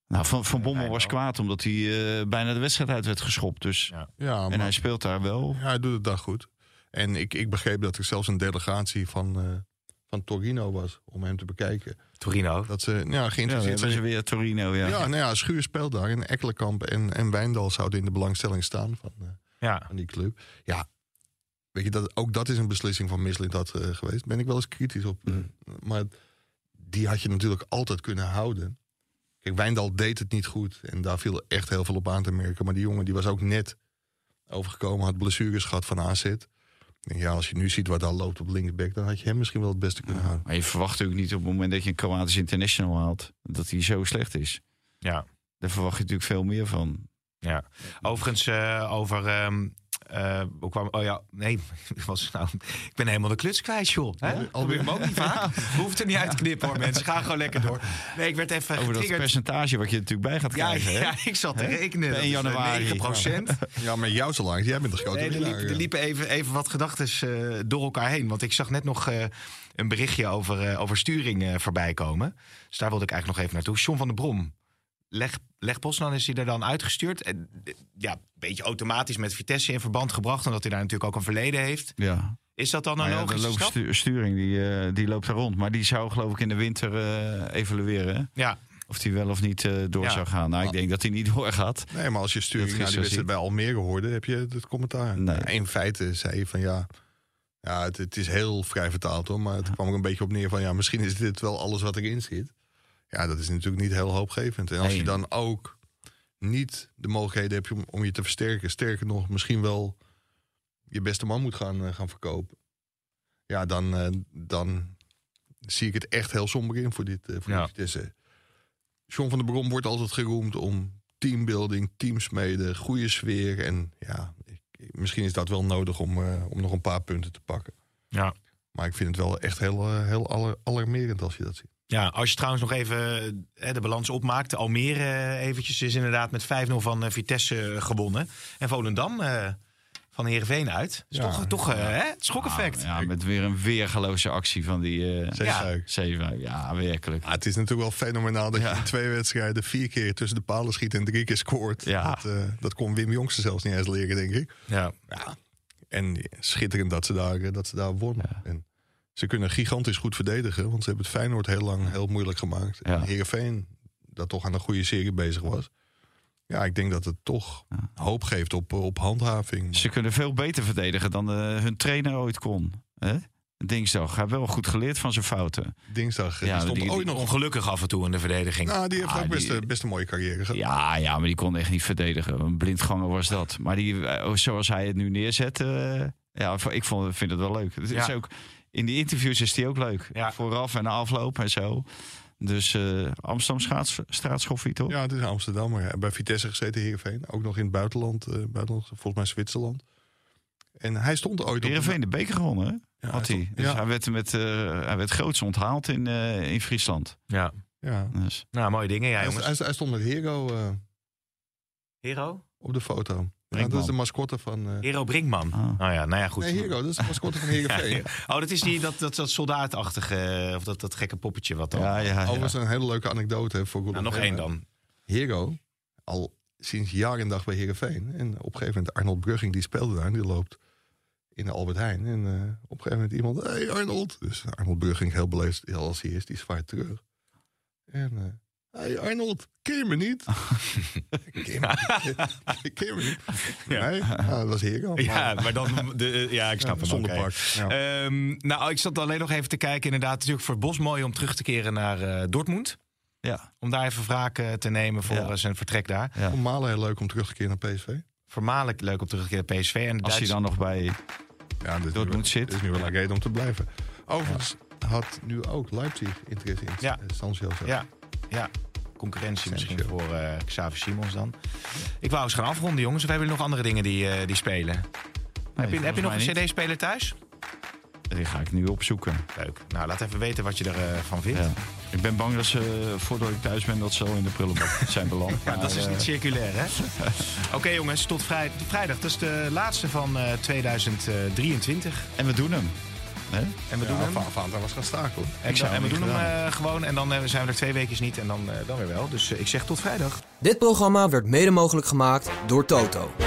Speaker 5: Nou, van, van Bommel
Speaker 3: nee,
Speaker 5: was
Speaker 3: wel.
Speaker 5: kwaad omdat hij eh, bijna de wedstrijd uit werd geschopt. Dus,
Speaker 4: Ja,
Speaker 5: en
Speaker 4: maar
Speaker 5: hij speelt daar wel.
Speaker 4: ja, hij doet het daar goed. En ik, ik begreep dat er zelfs een delegatie van, eh, van Torino was om hem te bekijken.
Speaker 3: Torino.
Speaker 4: Dat ze ja,
Speaker 5: Ja, dan
Speaker 4: geïnteresseerd
Speaker 5: hebben
Speaker 4: zijn.
Speaker 5: ze weer Torino. Ja.
Speaker 4: Ja, nou ja, Schuur speelt daar. En Ekkelenkamp en, en Wijndal zouden in de belangstelling staan van, eh,
Speaker 3: Ja.
Speaker 4: van die club. Ja, weet je, dat, ook dat is een beslissing van Misselin dat eh, geweest. Ben ik wel eens kritisch op. eh, Maar die had je natuurlijk altijd kunnen houden. Kijk, Wijndal deed het niet goed. En daar viel echt heel veel op aan te merken. Maar die jongen die was ook net overgekomen. Had blessures gehad van AZ. Ik denk, Ja, als je nu ziet waar daar loopt op linksback... dan had je hem misschien wel het beste kunnen houden.
Speaker 5: Maar je verwacht natuurlijk niet op het moment dat je een Kroatisch international haalt... dat hij zo slecht is.
Speaker 3: Ja.
Speaker 5: Daar verwacht je natuurlijk veel meer van.
Speaker 3: ja. Overigens, eh, over. ehm eh, hoe kwam, oh ja, nee, wat was het nou, ik ben helemaal de kluts kwijt, joh. Hè? Probeer hem ook niet vaak. Hoeft er niet uit te knippen, hoor, mensen. Ga gewoon lekker door. Nee, ik werd even
Speaker 5: Over dat
Speaker 3: getriggerd.
Speaker 5: percentage wat je er natuurlijk bij gaat
Speaker 3: Ja,
Speaker 5: krijgen. hè?
Speaker 3: ja, ik zat te rekenen.
Speaker 5: Per
Speaker 3: Dat is, eh,
Speaker 5: januari.
Speaker 3: 9
Speaker 4: Ja, maar jouw salaris, jij bent de grote
Speaker 3: Nee, er, liep,
Speaker 4: winnaar,
Speaker 3: er
Speaker 4: ja.
Speaker 3: liepen even, even wat gedachten eh, door elkaar heen. Want ik zag net nog eh, een berichtje over, eh, over sturing eh, voorbij komen. Dus daar wilde ik eigenlijk nog even naartoe. John van der Brom. Leg, leg Bosman is hij er dan uitgestuurd. En, eh, ja, een beetje automatisch met Vitesse in verband gebracht. Omdat hij daar natuurlijk ook een verleden heeft.
Speaker 5: Ja.
Speaker 3: Is dat dan een
Speaker 5: Maar Nou ja, de
Speaker 3: logische stap?
Speaker 5: loopstu- sturing die, eh, die loopt daar rond. Maar die zou geloof ik in de winter eh, evalueren. hè?
Speaker 3: Ja,
Speaker 5: Of die wel of niet eh, door
Speaker 3: Ja. Ah.
Speaker 5: zou gaan. Nou, ik denk dat hij niet doorgaat.
Speaker 4: Nee, maar als je
Speaker 5: Dat
Speaker 4: sturing naar die
Speaker 5: gisteren
Speaker 4: wedstrijd bij Almere hoorde, heb je het commentaar.
Speaker 5: Nee.
Speaker 4: Ja, in feite zei je van ja, ja het, het is heel vrij vertaald hoor. Maar het kwam ook een beetje op neer van ja, misschien is dit wel alles wat erin zit. Ja, dat is natuurlijk niet heel hoopgevend. En als
Speaker 5: Nee.
Speaker 4: je dan ook niet de mogelijkheden hebt om, om je te versterken. Sterker nog, misschien wel je beste man moet gaan, eh, gaan verkopen. Ja, dan, eh, dan zie ik het echt heel somber in voor dit eh, voor
Speaker 3: Ja.
Speaker 4: dit Vitesse. John van der Brom wordt altijd geroemd om teambuilding, teamsmeden, goede sfeer. En ja, ik- misschien is dat wel nodig om, eh, om nog een paar punten te pakken.
Speaker 3: ja.
Speaker 4: Maar ik vind het wel echt heel, eh, heel aller- alarmerend als je dat ziet.
Speaker 3: Ja, als je trouwens nog even eh, de balans opmaakt. Almere eh, eventjes is inderdaad met 5-0 van eh, Vitesse gewonnen. En Volendam eh, van Heerenveen uit. Is
Speaker 4: Ja.
Speaker 3: toch, toch eh, hè? het schokeffect.
Speaker 5: Ah, Ja, met weer een weergeloze actie van die eh
Speaker 4: Zeg
Speaker 3: Ja.
Speaker 4: jij.
Speaker 5: zeven. Ja, werkelijk.
Speaker 4: Ah, het is natuurlijk wel fenomenaal dat je in twee wedstrijden vier keer tussen de palen schiet en drie keer scoort.
Speaker 5: Ja.
Speaker 4: Dat, eh, dat kon Wim Jongsen zelfs niet eens leren, denk ik.
Speaker 3: Ja.
Speaker 4: En schitterend dat ze daar, eh, dat ze daar wonnen. En ze kunnen gigantisch goed verdedigen, want ze hebben het Feyenoord heel lang heel moeilijk gemaakt.
Speaker 5: Ja.
Speaker 4: En Heerenveen, dat toch aan een goede serie bezig was. Ja, ik denk dat het toch hoop geeft op, eh, op handhaving. Maar
Speaker 5: Ze kunnen veel beter verdedigen dan eh, hun trainer ooit kon. Hè? Dinsdag. Hij heeft wel goed geleerd van zijn fouten.
Speaker 4: Dinsdag, eh,
Speaker 5: Ja,
Speaker 4: die stond
Speaker 5: die- die-
Speaker 4: ooit nog...
Speaker 3: Ongelukkig af en toe in de verdediging.
Speaker 4: Nou, die heeft
Speaker 5: Ah,
Speaker 4: ook best,
Speaker 5: die-
Speaker 4: eh, best een mooie carrière gehad.
Speaker 5: Ja, ja, maar die kon echt niet verdedigen. Een blindganger was dat. Maar die, eh, zoals hij het nu neerzet, eh, ja, v- ik vond, vind het wel leuk. Het is
Speaker 3: Ja.
Speaker 5: ook, in die interviews is die ook leuk.
Speaker 3: Ja.
Speaker 5: Vooraf en na afloop en zo. Dus eh Amsterdam straats, straatschoffie, toch?
Speaker 4: Ja, het is Amsterdam. Maar ja, bij Vitesse gezeten, Heerenveen. Ook nog in het buitenland. eh, buitenland volgens mij Zwitserland. En hij stond ooit op...
Speaker 5: Heerenveen de beker gewonnen, hè?
Speaker 4: Ja,
Speaker 5: had
Speaker 4: hij
Speaker 5: hij.
Speaker 4: stond-
Speaker 5: Dus
Speaker 4: ja.
Speaker 5: hij, werd met, eh, hij werd groots onthaald in, eh, in Friesland.
Speaker 3: Ja.
Speaker 4: Ja.
Speaker 5: Dus,
Speaker 3: Nou, mooie dingen. Ja,
Speaker 4: Hij,
Speaker 3: jongens.
Speaker 4: hij- hij stond met Hero eh,
Speaker 3: Hero?
Speaker 4: op de foto. Ja, dat
Speaker 5: Brinkman.
Speaker 4: is de mascotte van... eh
Speaker 3: Hero Brinkman.
Speaker 5: Ah.
Speaker 3: Oh ja, nou ja, goed.
Speaker 4: nee, Hero. Dat is de mascotte van Heerenveen.
Speaker 3: Ja, Oh, dat is die, dat, dat, dat soldaatachtige, eh, of dat, dat gekke poppetje wat dan.
Speaker 5: ja, ja, ja.
Speaker 4: Overigens een hele leuke anekdote hè, voor Roelof
Speaker 3: Nou, nog
Speaker 4: Hemmen.
Speaker 3: één dan.
Speaker 4: Hero, al sinds jaar en dag bij Heerenveen. En op een gegeven moment Arnold Brugging, die speelde daar. En die loopt in de Albert Heijn. En eh, op een gegeven moment iemand, hey Arnold. Dus Arnold Brugging, heel beleefd heel als hij is, die zwaait terug. En, eh, hey Arnold, ken je me niet? ken, je me, ken je me niet? Nee, nou, dat was Hero.
Speaker 3: Ja, maar dan, de, eh, ja, ik snap het.
Speaker 4: zonder
Speaker 3: oké.
Speaker 4: pak. Ja.
Speaker 3: Ehm, nou, ik zat alleen nog even te kijken. Inderdaad, natuurlijk voor Bos mooi om terug te keren naar eh, Dortmund.
Speaker 5: ja.
Speaker 3: Om daar even wraak eh, te nemen voor
Speaker 5: Ja.
Speaker 3: eh, zijn vertrek daar.
Speaker 5: ja.
Speaker 4: Voor Malen heel leuk om terug te keren naar PSV.
Speaker 3: Voormalig leuk om terug te keren naar PSV. En de
Speaker 5: Als hij
Speaker 3: Duits-
Speaker 5: dan nog bij...
Speaker 4: Ja, dus
Speaker 5: Dortmund
Speaker 4: nu,
Speaker 5: zit.
Speaker 4: is nu wel een reden om te blijven. Overigens had nu ook Leipzig interesse in
Speaker 3: Ja.
Speaker 4: ja. Sancho.
Speaker 3: Ja, ja. Concurrentie misschien
Speaker 4: Sancho.
Speaker 3: voor eh Xavier Simons dan. Ik wou eens gaan afronden, jongens. Of hebben jullie nog andere dingen die, eh, die spelen? heb je, heb je nog een cd-speler thuis?
Speaker 5: Die ga ik nu opzoeken.
Speaker 3: Leuk. Nou, laat even weten wat je ervan vindt.
Speaker 5: Ja. Ik ben bang dat ze, eh, voordat ik thuis ben, dat ze al in de prullenbak zijn beland.
Speaker 3: Ja, dat is
Speaker 5: eh,
Speaker 3: niet circulair, hè? Oké jongens, tot vrij- tot vrijdag. Dat is de laatste van eh, 2023.
Speaker 5: eh, En we doen hem. Hè?
Speaker 3: En we doen hem.
Speaker 4: Van Fanta was gaan staken hoor.
Speaker 3: En,
Speaker 5: zou
Speaker 3: dan- en we
Speaker 5: hem
Speaker 3: doen hem
Speaker 5: niet
Speaker 3: eh, gewoon. En dan eh, zijn we er twee weken niet. En dan, eh, dan weer wel. Dus eh, ik zeg tot vrijdag.
Speaker 1: Dit programma werd mede mogelijk gemaakt door Toto.